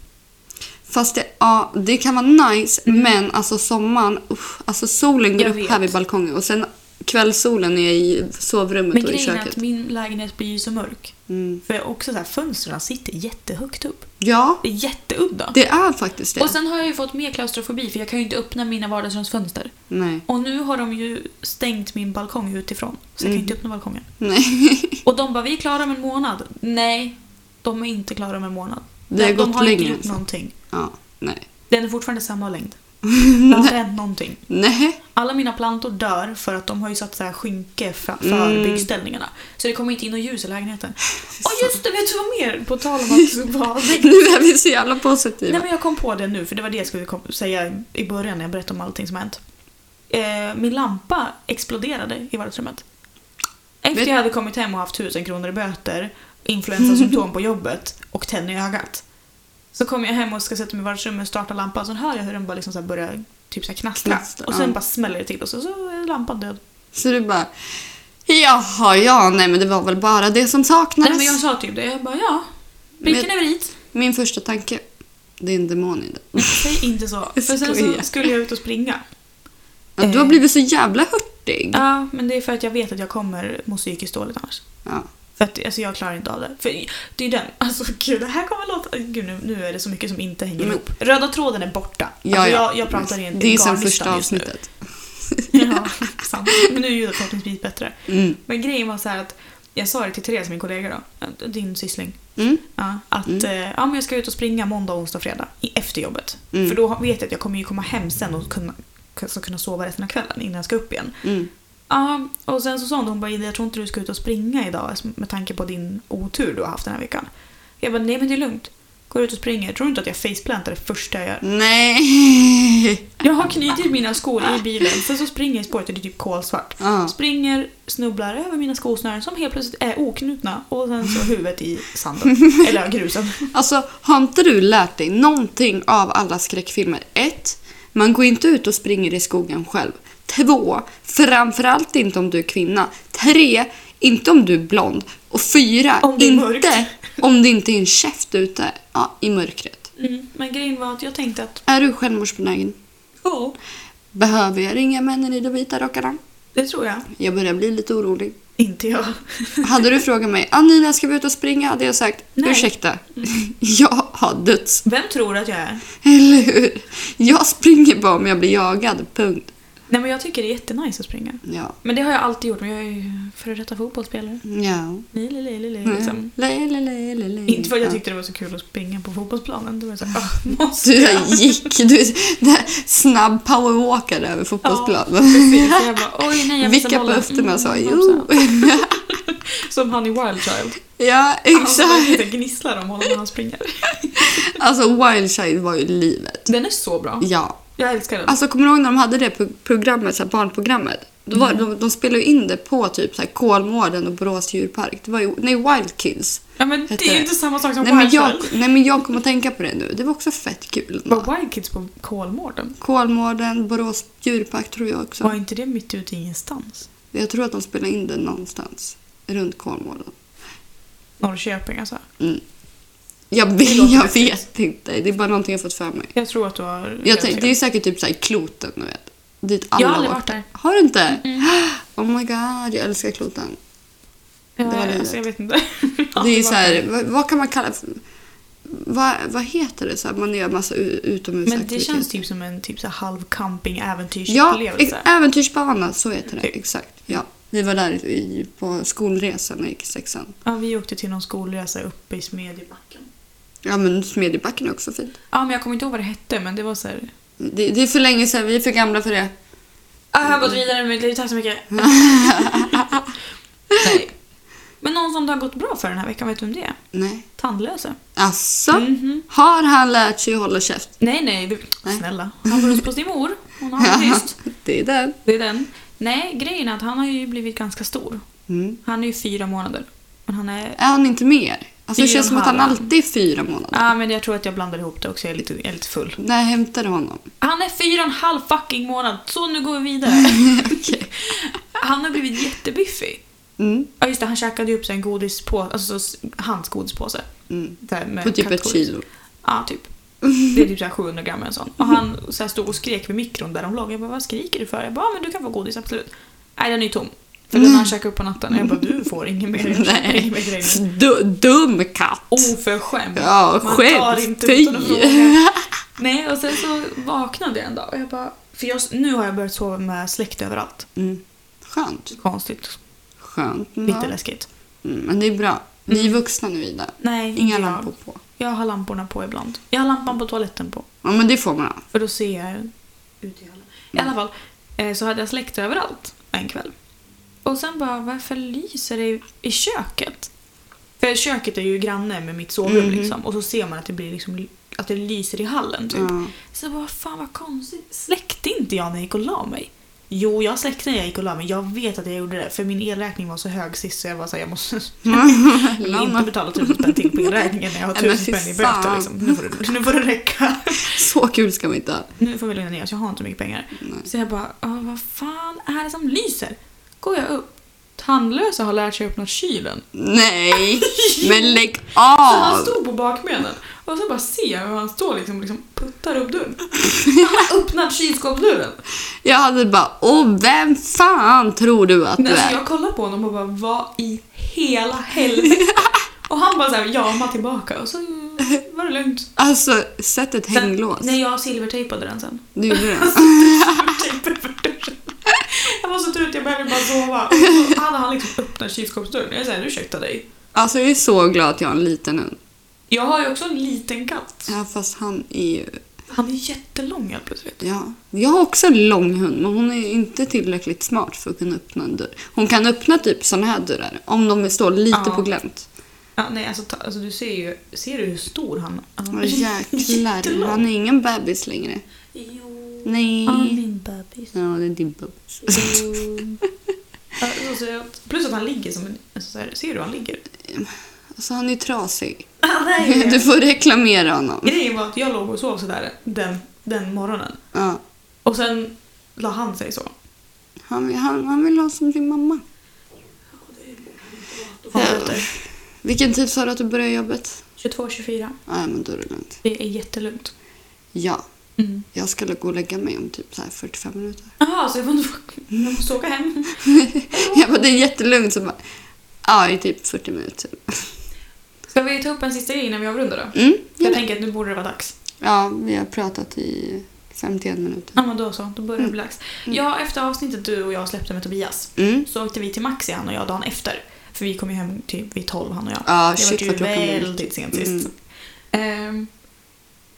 S1: Fast det, ja, det kan vara nice, men alltså sommaren, usch, alltså solen går
S2: Mm. Jag
S1: upp
S2: vet.
S1: här vid balkongen och sen kvällssolen är i sovrummet
S2: Men
S1: och i
S2: grejen är
S1: köket.
S2: att min lägenhet blir ju så mörk.
S1: Mm.
S2: För också så här, fönstren sitter jättehögt upp.
S1: Ja,
S2: Det är jätteudda.
S1: det är faktiskt det.
S2: Och sen har jag ju fått mer klaustrofobi för jag kan ju inte öppna mina vardagsrumsfönster.
S1: Nej.
S2: Och nu har de ju stängt min balkong utifrån. Så jag kan
S1: Mm.
S2: ju inte öppna balkongen.
S1: Nej.
S2: Och de bara, vi är klara om en månad. Nej, de är inte klara om en månad.
S1: Det har
S2: de
S1: gått
S2: har
S1: längre liksom.
S2: inte
S1: än
S2: gjort
S1: så.
S2: någonting.
S1: Ja, nej.
S2: Den är fortfarande samma längd. Alltså, Det har inte hänt någonting.
S1: Nej.
S2: Alla mina plantor dör för att de har ju satt så här skynke för, för
S1: Mm.
S2: byggställningarna. Så det kommer inte in något ljus i lägenheten. Ja just det, vet du vad mer? På tal om att vara
S1: Nu är vi så jävla positiva.
S2: Nej men jag kom på det nu för det var det jag skulle kom- säga i början när jag berättade om allting som hänt. Eh, min lampa exploderade i vardagsrummet. Efter
S1: Vet-
S2: jag hade kommit hem och haft tusen kronor i böter, influensasymptom på jobbet och tenn i ögat. Så kommer jag hem och ska sätta mig i vardagsrummet och starta lampan så hör jag hur den bara liksom så här börjar typ så här knastra.
S1: Knastra,
S2: och sen
S1: ja.
S2: bara smäller det till och så, så är lampan död.
S1: Så du bara, jaha, ja, nej men det var väl bara det som saknades.
S2: Nej men jag sa typ det, jag bara ja, pricken
S1: Men-
S2: över i.
S1: Min första tanke, det är en demon i den.
S2: Säg inte så.
S1: Jag
S2: För sen
S1: skojar.
S2: så skulle jag ut och springa.
S1: Att Du har blivit så jävla hurtig.
S2: Eh. Ja, men det är för att jag vet att jag kommer må psykiskt dåligt annars.
S1: Ja.
S2: För att alltså, jag klarar inte av det. För det är den, alltså gud det här kommer låta... Gud nu, nu är det så mycket som inte hänger
S1: Men-
S2: ihop. Röda tråden är borta.
S1: Mm. Ja,
S2: alltså,
S1: ja.
S2: Jag, jag pratar i en
S1: Det är sen
S2: garnlista
S1: första
S2: just nu.
S1: avsnittet.
S2: Ja, sant. Men nu är ju det förhoppningsvis bättre.
S1: Mm.
S2: Men grejen var så här att jag sa det till Therese, min kollega då, din syssling.
S1: Mm.
S2: Ja, att eh, ja, men jag ska ut och springa måndag, onsdag och fredag i- efter jobbet.
S1: Mm.
S2: För då har- vet jag att jag kommer ju komma hem sen och kunna, alltså, kunna sova resten av kvällen innan jag ska upp igen.
S1: Mm.
S2: Ja, och sen så sa hon, hon bara, "Ida, jag tror inte du ska ut och springa idag alltså, med tanke på din otur du har haft den här veckan. Jag bara, nej men det är lugnt. Går ut och springer. Tror du inte att jag faceplantar det första jag gör?
S1: Nej!
S2: Jag har knutit mina skor i bilen, sen så springer jag i spåret och det är typ kolsvart.
S1: Ja.
S2: Springer, snubblar över mina skosnören som helt plötsligt är oknutna och sen så huvudet i sanden. Eller grusen.
S1: Alltså, har inte du lärt dig någonting av alla skräckfilmer? Ett, Man går inte ut och springer i skogen själv. Två, Framförallt inte om du är kvinna. Tre, Inte om du är blond. Och fyra,
S2: Om det är mörkt.
S1: Inte om det inte är en käft ute ja, i mörkret.
S2: Mm. Men grejen var att jag tänkte att, "Oh,
S1: Är du självmordsbenägen?
S2: ja,
S1: Behöver jag ringa männen i de vita rockarna?
S2: det tror jag.
S1: Jag börjar bli lite orolig.
S2: Inte jag.
S1: Hade du frågat mig Anina ska vi ut och springa hade jag sagt
S2: Nej.
S1: ursäkta, jag har döds.
S2: Vem tror du att jag är?
S1: Eller hur? Jag springer bara om jag blir jagad, punkt.
S2: Nej men jag tycker det är jättenice att springa.
S1: Ja.
S2: Men det har jag alltid gjort, men jag är ju före detta fotbollsspelare.
S1: Ja.
S2: Nej, nej, nej, nej, nej,
S1: Mm.
S2: liksom.
S1: Le, le, le, le, le.
S2: Inte för att jag
S1: Ja.
S2: tyckte det var så kul att springa på fotbollsplanen. Det var så här, "Ah, måste
S1: Du
S2: jag?
S1: där gick, du där snabb powerwalkar över fotbollsplanen.
S2: Precis, och jag bara, oj nej jag missade
S1: Vicka på
S2: bollen."
S1: höften med och sa
S2: Mm,
S1: jo.
S2: Som han i Wild Child.
S1: Ja,
S2: Han
S1: exakt.
S2: lite gnisslar om honom när han springer.
S1: Alltså Wild Child var ju livet.
S2: Den är så bra.
S1: Ja.
S2: Jag älskar den.
S1: Alltså kommer du ihåg när de hade det pro- programmet, så här barnprogrammet? Då var,
S2: Mm.
S1: de, de spelade ju in det på typ så här Kolmården och Borås djurpark. Det var ju, nej, Wild Kids.
S2: Ja, men det är
S1: heter-
S2: ju inte samma sak som
S1: Nej
S2: Wild
S1: men, jag,
S2: Child.
S1: nej men jag kommer att tänka på det nu. Det var också fett kul.
S2: Var Wild Kids på Kolmården?
S1: Kolmården, Borås djurpark tror jag också.
S2: Var inte det mitt ute i ingenstans?
S1: Jag tror att de spelade in det någonstans runt Kolmården.
S2: Norrköping alltså.
S1: Jag,
S2: Det
S1: vet-
S2: låter
S1: jag
S2: häftigt.
S1: vet inte. Det är bara någonting jag fått för mig.
S2: Jag tror att du har...
S1: Jag tänk, det är säkert typ så här kloten, du vet. Dit alla
S2: jag har aldrig
S1: åker.
S2: varit där.
S1: Har du inte? Oh my god, jag älskar kloten.
S2: Det
S1: var livet.
S2: alltså, jag vet inte. Jag har
S1: Det är
S2: aldrig
S1: så
S2: varit där.
S1: här, vad, vad kan man kalla vad, vad heter det? Så här, man gör massa u-
S2: Men
S1: utomhusaktiviteter.
S2: det känns typ som en typ så här halv camping
S1: Ja,
S2: äventyrsupplevelse.
S1: ex- äventyrsbana, så heter det.
S2: Typ.
S1: Exakt. Ja. Vi var där i, på skolresan när jag gick i sexan.
S2: Ja, vi åkte till någon skolresa uppe i Smedjebacken.
S1: Ja, men Smedjebacken är också fint.
S2: Ja, men jag kommer inte ihåg vad det hette, men det var så här...
S1: Det, det är för länge sedan, vi är för gamla för det.
S2: Ah, jag har gått vidare med mitt liv, tack så mycket. Nej. Men någon som det har gått bra för den här veckan, vet du vem det är?
S1: Nej.
S2: Tandlösa.
S1: Alltså,
S2: Mhm.
S1: har han lärt sig att hålla käft?
S2: Nej, nej, vi...
S1: Nej.
S2: snälla. Han går hos på sin mor. Hon har det tyst.
S1: det är den.
S2: Det är den. Nej, grejen är att han har ju blivit ganska stor.
S1: Mm.
S2: Han är ju fyra månader. Men han är...
S1: Är han inte mer? Alltså, det
S2: Fyra
S1: känns som att han
S2: och en halv.
S1: alltid är fyra månader.
S2: Ja, ah, men jag tror att jag blandar ihop det också. Jag är lite, jag är lite full.
S1: När jag hämtade honom.
S2: Han är fyra och en halv fucking månad, så nu går vi vidare. Han har blivit jättebiffig.
S1: Mm.
S2: Ja just det, han käkade ju upp sig en godispåse, alltså s- hans godispåse.
S1: Mm.
S2: Så här med
S1: På typ ett
S2: kattgodis.
S1: kilo.
S2: Ja, typ. Det är typ så här 700 gram eller en sån. Och han så här stod och skrek vid mikron där de låg. Jag bara, vad skriker du för? Jag bara, "Ja, men du kan få godis, absolut. Nej, den är ju tom. För den har han käkat upp på natten. Jag bara, du får ingen mer. Ingen mer grejer.
S1: Du, dum katt!
S2: Oh. Oförskämt.
S1: Ja,
S2: Man
S1: skämt,
S2: tar inte
S1: fy.
S2: utan att fråga. Nej, och sen så vaknade jag en dag och jag bara... För jag, nu har jag börjat sova med släkt överallt.
S1: Mm. Skönt.
S2: Konstigt.
S1: Skönt.
S2: Lite
S1: Ja.
S2: läskigt.
S1: Mm, men det är bra. Vi är vuxna nu, Ida.
S2: Nej,
S1: Inga
S2: inte jag.
S1: lampor på.
S2: Jag har lamporna på ibland. Jag har lampan på toaletten på.
S1: Ja, men det får man ha.
S2: För då ser jag ut i hallen. I
S1: Mm.
S2: alla fall eh, så hade jag släkt överallt en kväll. Och sen bara, varför lyser det i köket? För köket är ju granne med mitt sovrum
S1: Mhm.
S2: liksom. Och så ser man att det blir liksom, att det lyser i hallen typ.
S1: Ja.
S2: Så jag bara, fan vad konstigt. Släckte inte jag när jag gick och la mig? Jo, jag släckte när jag gick och la mig. Jag vet att jag gjorde det. För min elräkning var så hög sist så jag var såhär, jag måste jag vill inte betala tusen spänn till på elräkningen när jag har
S1: Nej, men
S2: tusen
S1: fy
S2: spänn i böter
S1: fan.
S2: liksom. Nu får det, nu får det räcka.
S1: Så kul ska vi inte ha.
S2: Nu får vi lugna ner oss, jag har inte så mycket pengar.
S1: Nej.
S2: Så jag bara, "Åh, vad fan är det som lyser? Går jag upp, tandlösa har lärt sig öppna kylen.
S1: Nej, men lägg
S2: Så han
S1: av!
S2: stod på bakbenen och så bara ser jag hur han står liksom, liksom puttar upp dörren. Han har öppnat kylskåpsdörren.
S1: Jag hade bara, åh vem fan tror du att du
S2: Men alltså,
S1: är?
S2: jag kollar på honom och bara vad i hela helvete? Och han bara såhär jama tillbaka och så var det lugnt.
S1: Alltså, sätt ett
S2: Sen-
S1: hänglås.
S2: Nej, jag silvertejpade den sen.
S1: Du gjorde det?
S2: Silvertejpade för dörren. Jag var så trött, jag behövde bara sova. Och så hade han liksom öppnat kylskåpsdörren. Jag säger ursäkta dig.
S1: Alltså jag är så glad att jag har en liten hund.
S2: Jag har ju också en liten katt.
S1: Ja, fast han är ju...
S2: Han är jättelång helt plötsligt.
S1: Ja. Jag har också en lång hund, men hon är inte tillräckligt smart för att kunna öppna en dörr. Hon kan öppna typ såna här dörrar, om de står lite
S2: Ja.
S1: på glänt.
S2: Ja, nej, alltså, ta, alltså du ser ju, ser du hur stor han han
S1: Åh, jäklar, han är ingen bebis längre.
S2: Jo.
S1: Nej.
S2: Han är min bebis.
S1: Ja, det är din bebis.
S2: Ja, alltså, så ser jag- Plus att han ligger som en... Alltså, så här, ser du hur han ligger?
S1: Alltså han är trasig.
S2: Ah,
S1: Du får reklamera honom.
S2: Grejen var att jag låg och sov sådär den, den morgonen.
S1: Ja.
S2: Och sen la han sig så.
S1: Han, han, han vill ha som sin mamma.
S2: Helvete.
S1: Vilken tid sa du att du började jobbet?
S2: 22-24.
S1: Ja, men då är det lugnt.
S2: Det är jättelugnt.
S1: Ja,
S2: Mm.
S1: jag skulle gå och lägga mig om typ så här 45 minuter.
S2: Jaha, så jag, får, jag måste åka hem.
S1: Jag bara, det är jättelugnt. Så bara, ja, i typ 40 minuter.
S2: Ska vi ta upp en sista grej innan vi avrundar då?
S1: Mm, gör
S2: Jag
S1: det.
S2: tänker att nu borde det vara dags.
S1: Ja, vi har pratat i 51 minuter.
S2: Ja, men då så. Då börjar det bli dags. Ja, efter avsnittet du och jag släppte med Tobias
S1: Mm.
S2: så åkte vi till Maxi han och jag dagen efter. För vi kom ju hem typ vid 12 han och jag.
S1: Ja,
S2: Det
S1: Ah, shit
S2: var ju
S1: vad klockan blev. Mm.
S2: väldigt sent sist. Ehm,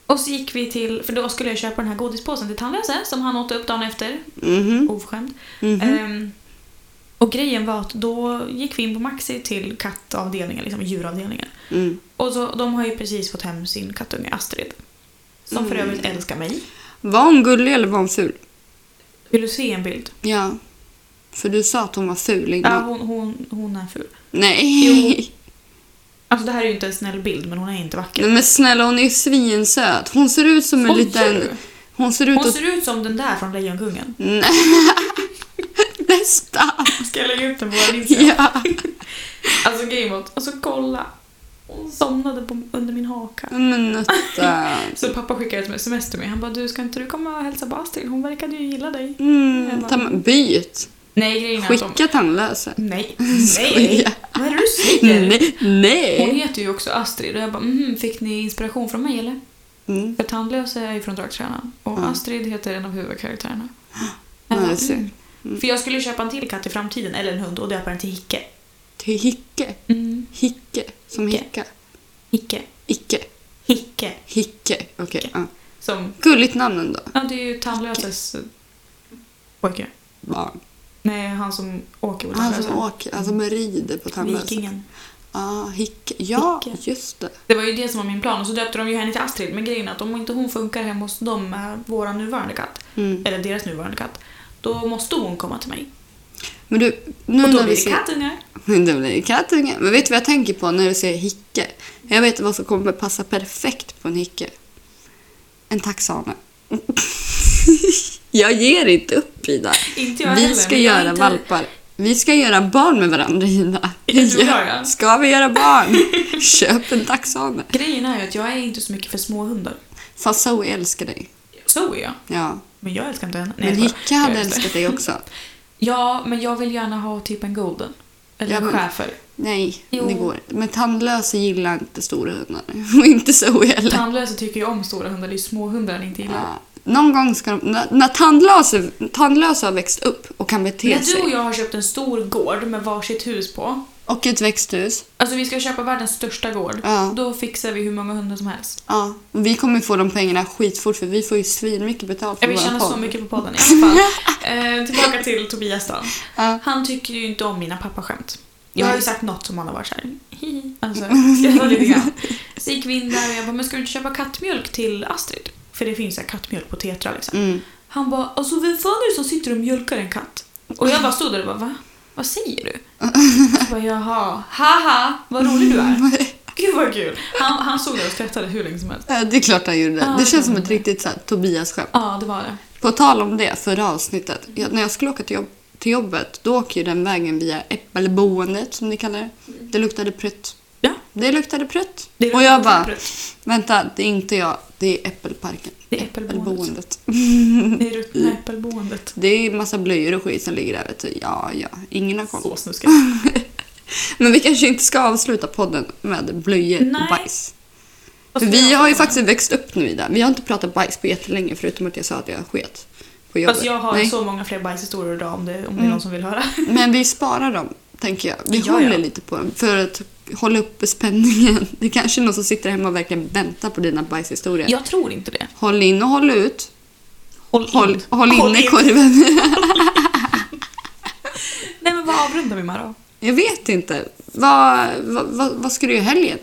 S2: och så gick vi till, för då skulle jag köpa den här godispåsen till tandlösa som han åt upp dagen efter.
S1: Mhm,
S2: Oförskämd.
S1: mhm.
S2: Ehm, och grejen var att då gick vi in på Maxi till kattavdelningen, liksom djuravdelningen.
S1: Mm.
S2: Och så, de har ju precis fått hem sin kattunge Astrid. Som för
S1: Mm.
S2: övrigt älskar mig.
S1: Var hon gullig eller var hon ful?
S2: Vill du se en bild?
S1: Ja. För du sa att hon var ful innan.
S2: Ja, hon, hon, hon är ful.
S1: Nej.
S2: Alltså det här är ju inte en snäll bild men hon är inte vacker.
S1: Nej men snälla hon är ju svinsöt. Hon ser ut som en
S2: Skojar du?
S1: liten... Hon ser ut
S2: Hon
S1: att...
S2: ser ut som den där från Lejonkungen.
S1: Nästan.
S2: Ska jag lägga upp den på vår Instagram?
S1: Ja.
S2: Alltså grejen var att- alltså kolla. Hon somnade på, under min haka.
S1: Men nötta.
S2: Så pappa skickade ett sms till mig. Han bara du ska inte du komma och hälsa på Astrid? Hon verkade ju gilla dig.
S1: Mm. ta med- Byt.
S2: Nej grejen är att de...
S1: Skicka tandlösa.
S2: Nej, nej.
S1: Skoja.
S2: Vad är det du säger?
S1: Nej.
S2: Hon
S1: Nej.
S2: heter ju också Astrid och jag bara mm, fick ni inspiration från mig eller?
S1: Mm.
S2: För Tandlösa är ju från Draktränaren och
S1: Ja.
S2: Astrid heter en av huvudkaraktärerna.
S1: Ja,
S2: Jag bara,
S1: jag ser.
S2: mm. För jag skulle köpa en till katt i framtiden, eller en hund, och döpa den till Hicke.
S1: Till Hicke.
S2: Mm.
S1: Hicke. Som
S2: Hicke.
S1: hicka.
S2: Hicke.
S1: Icke.
S2: Hicke.
S1: Hicke. Okej.
S2: Hicke.
S1: ja.
S2: Som,
S1: Gulligt namn ändå.
S2: ja det är ju Tandlöses pojke.
S1: Barn.
S2: Nej, han som åker på
S1: Han
S2: Tandlösa.
S1: som åker, alltså med rider på tandlösa.
S2: Vikingen.
S1: Ah, Hicke. Ja,
S2: Hicke.
S1: just det.
S2: Det var ju det som var min plan och så döpte de ju henne till Astrid. Men grejen är att om inte hon funkar hemma hos dem med vår nuvarande katt,
S1: Mm.
S2: eller deras nuvarande katt, då måste hon komma till mig.
S1: Men du, nu
S2: Och då
S1: när
S2: blir
S1: vi
S2: det
S1: ser...
S2: kattungar.
S1: Men det blir kattunge. Men vet du vad jag tänker på när du säger hicke? Jag vet vad som kommer passa perfekt på en hicke. En taxane. jag ger inte upp, Ida.
S2: Inte jag
S1: vi
S2: heller,
S1: ska
S2: men jag är
S1: göra
S2: inte-
S1: valpar. Vi ska göra barn med varandra, Ida.
S2: Jag tror jag, ja.
S1: Ska vi göra barn? Köp en taxane.
S2: Grejen är ju att jag är inte så mycket för små hundar.
S1: Fast Zoe älskar dig.
S2: Så är jag.
S1: Ja.
S2: Men jag älskar inte henne. Nej,
S1: Men
S2: jag skojar.
S1: Hicke
S2: Jag
S1: hade
S2: älskar-
S1: älskat dig också.
S2: Ja, men jag vill gärna ha typ en golden. Eller
S1: Ja,
S2: en
S1: men-
S2: schäfer.
S1: Nej,
S2: Jo.
S1: det går inte. Men tandlösa gillar inte stora hundar. Och inte Zoe heller.
S2: Tandlösa tycker ju om stora hundar. Det är ju små hundar han inte gillar.
S1: Ja, någon gång ska de... När, när tandlösa, tandlösa har växt upp och kan bete
S2: När du och
S1: sig
S2: jag har köpt en stor gård med varsitt hus på.
S1: och ett växthus,
S2: Alltså vi ska köpa världens största gård.
S1: Ja.
S2: Då fixar vi hur många hundar som helst.
S1: ja, och vi kommer få de pengarna skitfort för vi får ju svinmycket betalt för
S2: Jag vill
S1: våra
S2: tjäna
S1: podd.
S2: så mycket på podden i alla fall. eh, tillbaka till Tobias då.
S1: Ja.
S2: Han tycker ju inte om mina pappaskämt. Jag har ju
S1: Nej.
S2: sagt något som han har varit såhär, hihi, alltså skrattat lite grann. Så gick vi in där och jag bara, men ska du inte köpa kattmjölk till Astrid? För det finns ju så här kattmjölk på Tetra liksom.
S1: Mm.
S2: Han bara, alltså vem fan är det som sitter och mjölkar en katt? Och jag bara stod där och bara, va? Vad säger du? Jag bara, jaha, haha, vad rolig du är. Gud vad kul. Han, han såg där och skrattade hur länge som helst.
S1: Ja, Det är klart han gjorde det.
S2: Ja,
S1: det känns som
S2: det
S1: ett riktigt så här, Tobias-skämt.
S2: Ja, det var det.
S1: På tal om det, förra avsnittet. Jag, när jag skulle åka till jobb, till jobbet, då åker ju den vägen via äppelboendet som ni kallar det. Det luktade prutt.
S2: Ja.
S1: Det luktade prutt.
S2: Det är
S1: Och jag
S2: lite
S1: bara,
S2: prutt.
S1: vänta, det är inte jag, det är äppelparken.
S2: Det är äppelboendet.
S1: Äppelboendet. mm.
S2: Det är ruttna äppelboendet.
S1: Det är massa blöjor och skit som ligger där vet du. Ja, ja, ingen har koll.
S2: Så snuskigt.
S1: Men vi kanske inte ska avsluta podden med blöjor
S2: Nej.
S1: och bajs.
S2: Vad
S1: För
S2: ska
S1: vi
S2: jag
S1: har ju
S2: prata om?
S1: faktiskt växt upp nu Ida. Vi har inte pratat bajs på jättelänge förutom att jag sa att jag sket på jobbet.
S2: Fast jag har
S1: Nej. Mm.
S2: så många fler bajshistorier idag om det, om det är någon som vill höra.
S1: Men vi sparar dem, tänker jag. Vi
S2: Ja,
S1: håller
S2: ja.
S1: lite på dem för att hålla uppe spänningen. Det kanske är någon som sitter hemma och verkligen väntar på dina bajshistorier.
S2: Jag tror inte det.
S1: Håll in och håll ut.
S2: Håll,
S1: Håll, håll inne korven.
S2: Nej men vad avrundar vi med då?
S1: Jag vet inte. Vad, vad, vad, vad ska du göra i helgen?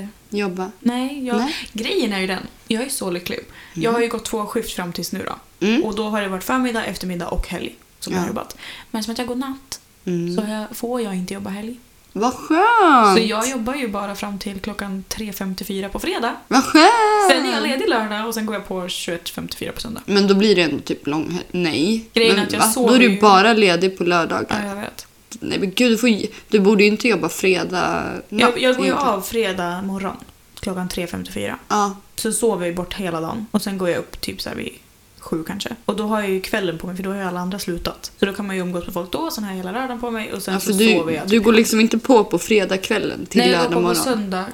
S2: Eh,
S1: Jobba.
S2: nej, jag,
S1: Nej.
S2: grejen är ju den. Jag är så lycklig. Jag har ju gått två skift fram tills nu då.
S1: Mm.
S2: Och då har det varit förmiddag, eftermiddag och helg som jag har
S1: Ja.
S2: jobbat. Men som att jag går natt
S1: Mm.
S2: så har jag, får jag inte jobba helg.
S1: Vad skönt!
S2: Så jag jobbar ju bara fram till klockan 3.54 på fredag.
S1: Vad skönt!
S2: Sen är jag ledig lördag och sen går jag på 21.54 på söndag.
S1: Men då blir det ändå typ lång hel- Nej.
S2: Grejen är
S1: men,
S2: att jag
S1: va?
S2: sover
S1: Då är du
S2: ju-
S1: bara ledig på lördagar.
S2: Ja, jag vet.
S1: Nej men gud, du, får... ju- du borde ju inte jobba fredag natt
S2: Jag, jag går ju
S1: egentligen.
S2: av fredag morgon klockan 3.54.
S1: Ja.
S2: Så sover jag bort hela dagen och sen går jag upp typ så här vid sju kanske. Och då har jag ju kvällen på mig för då har ju alla andra slutat. Så då kan man ju umgås med folk då, sen har jag hela lördagen på mig och sen
S1: Ja,
S2: så
S1: för
S2: sover
S1: Alltså, du,
S2: jag.
S1: du går liksom inte på på fredagskvällen till
S2: Nej, jag
S1: lördag
S2: går på på
S1: morgon.
S2: söndag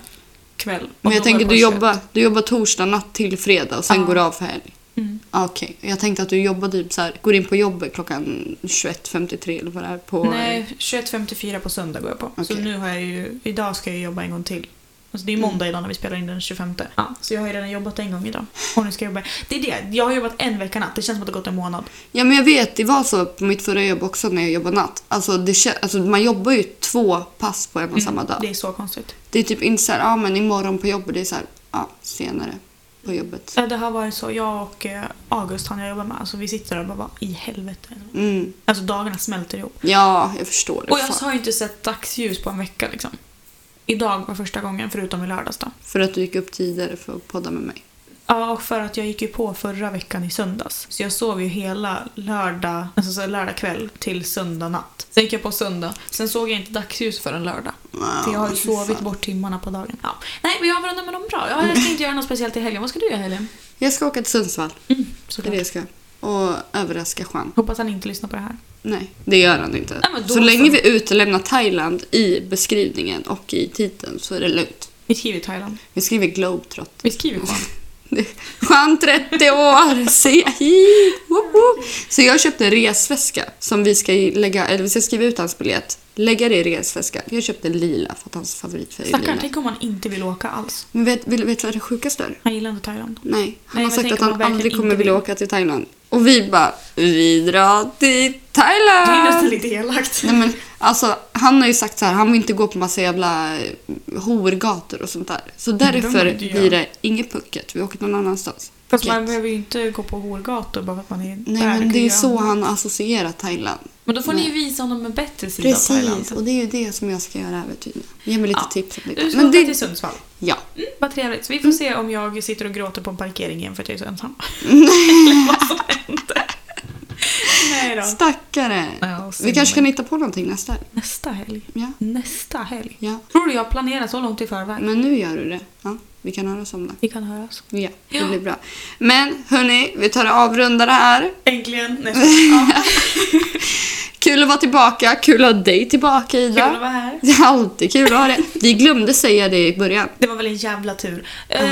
S2: kväll. Och
S1: Men jag
S2: då
S1: tänker
S2: går
S1: du
S2: på kött.
S1: jobbar, du jobbar torsdag natt till fredag och sen
S2: Ja.
S1: går du av för helg.
S2: Mm.
S1: Ah, Okej, jag tänkte att du jobbar typ så här, går in på jobbet klockan 21.53 eller vad det är på...
S2: Nej, 21.54 på söndag går jag på. Så
S1: Okej.
S2: nu har jag ju, idag ska jag jobba en gång till. Alltså det är ju
S1: Mm.
S2: måndag idag när vi spelar in den 25. Ja, så jag har ju redan jobbat en gång idag. Och nu ska jag jobba. Det är det, jag har jobbat en vecka natt. Det känns som att det har gått en månad.
S1: Ja men jag vet, det var så på mitt förra jobb också när jag jobbade natt. Alltså, det, kä- alltså man jobbar ju två pass på en och samma dag.
S2: Mm. Det är så konstigt.
S1: Det är typ inte så här, ja ah, men imorgon på jobbet, det är så här, ja ah, senare på jobbet.
S2: Ja, det har varit så. Jag och eh, August, han jag jobbar med, alltså, vi sitter där och bara "Vad i helvete.
S1: Mm.
S2: Alltså dagarna smälter ihop.
S1: Ja, jag förstår det.
S2: Och jag
S1: fan.
S2: har ju inte sett dagsljus på en vecka liksom. Idag var första gången, förutom i lördags då.
S1: För att du gick upp tidigare för att podda med mig.
S2: Ja, och för att jag gick ju på förra veckan i söndags. Så jag sov ju hela lördag, alltså så här, lördag kväll till söndag natt. Sen gick jag på söndag, sen såg jag inte dagsljus förrän lördag. För jag har ju
S1: Wow, fy
S2: sovit
S1: fan.
S2: bort timmarna på dagen. Mm. Ja. Nej, men jag avrundar med dem bra. Jag ska inte göra något speciellt i helgen. Vad ska du göra i helgen?
S1: Jag ska åka till Sundsvall.
S2: Mm,
S1: Det är
S2: såklart.
S1: det jag ska. Och överraska Juan.
S2: Hoppas han inte lyssnar på det här.
S1: Nej, det gör han inte.
S2: Nej, men då
S1: så länge
S2: så.
S1: vi utelämnar Thailand i beskrivningen och i titeln så är det lugnt.
S2: Vi skriver Thailand.
S1: Vi skriver globetrot.
S2: Vi skriver Juan.
S1: Juan 30 år, säga hit! Woop, woop. Så jag köpte en resväska som vi ska lägga, eller vi ska skriva ut hans biljett. Lägga det i resväska. Jag köpte lila för att hans favoritfärg är
S2: Stackarn,
S1: lila.
S2: tänk om han inte vill åka alls.
S1: Men vet, vill, vet du vad det sjukaste är?
S2: Han gillar inte Thailand.
S1: Nej, han
S2: Nej,
S1: har
S2: men
S1: sagt
S2: tänk
S1: att
S2: om
S1: han
S2: han verkligen
S1: aldrig kommer
S2: inte
S1: vilja
S2: vill.
S1: åka till Thailand. Och vi bara, vi drar till Thailand!
S2: Det är nästan lite elakt.
S1: Nej, men, alltså, han har ju sagt så här, han vill inte gå på massa jävla eh, horgator och sånt där. Så därför
S2: de inte göra.
S1: blir det inget pucket, vi åker någon annanstans.
S2: Fast man
S1: Pucket.
S2: behöver ju inte gå på hårgator bara för att man är där.
S1: Nej men
S2: kan
S1: det är
S2: göra
S1: så
S2: annat.
S1: han associerar Thailand.
S2: Men då får ni
S1: Nej.
S2: ju visa honom en bättre sida av Thailand.
S1: Precis, och det är ju det som jag ska göra här vid tiden. Ge mig lite
S2: Ja.
S1: tips om
S2: Du
S1: lite.
S2: ska
S1: Men
S2: åka
S1: det,
S2: till Sundsvall.
S1: ja.
S2: Mm, vad trevligt. Så vi får se om jag sitter och gråter på en parkering igen för att jag är så ensam. Eller vad som händer.
S1: Stackare.
S2: Nej då.
S1: Vi kanske kan hitta på någonting nästa helg.
S2: Nästa helg.
S1: Ja.
S2: Nästa helg.
S1: ja.
S2: Tror du jag planerar så långt i förväg?
S1: Men nu gör du det. Ja. Mm. Vi kan höras om det.
S2: Vi kan höras.
S1: Ja, det
S2: Ja.
S1: blir bra. Men hörni, vi tar och avrundar det här.
S2: Äntligen! Nej, ja,
S1: Kul att vara tillbaka. Kul att ha dig tillbaka
S2: kul
S1: Ida.
S2: att vara här.
S1: Det är alltid kul att ha det. Vi glömde säga det i början.
S2: Det var väl en jävla tur. Eh,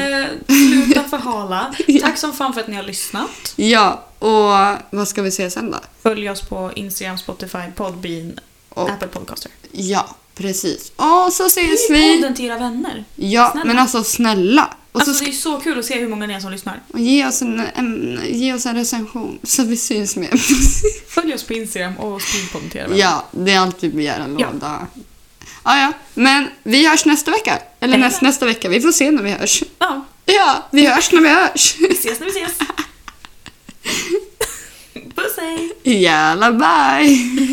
S2: sluta förhala. Tack som fan för att ni har lyssnat.
S1: Ja, och vad ska vi säga sen då?
S2: Följ oss på Instagram, Spotify, Podbean,
S1: Och-
S2: Apple Podcaster.
S1: Ja, precis. Och så ses
S2: Ge
S1: vi.
S2: podden till era vänner.
S1: Ja,
S2: Snälla.
S1: men alltså snälla. Och så
S2: Alltså,
S1: ska
S2: det är så kul att se hur många ni är som lyssnar.
S1: och ge, oss en, en, ge oss en recension så vi syns mer.
S2: Följ oss på Instagram och sprid podden till era vänner.
S1: ja, det är allt vi begär. en låda. Ja, ja. Men vi hörs nästa vecka. Eller näst, nästa vecka. Vi får se när vi hörs.
S2: ja.
S1: Ja, vi hörs när vi hörs.
S2: Vi ses när vi ses. Puss hej!
S1: Jävla bye!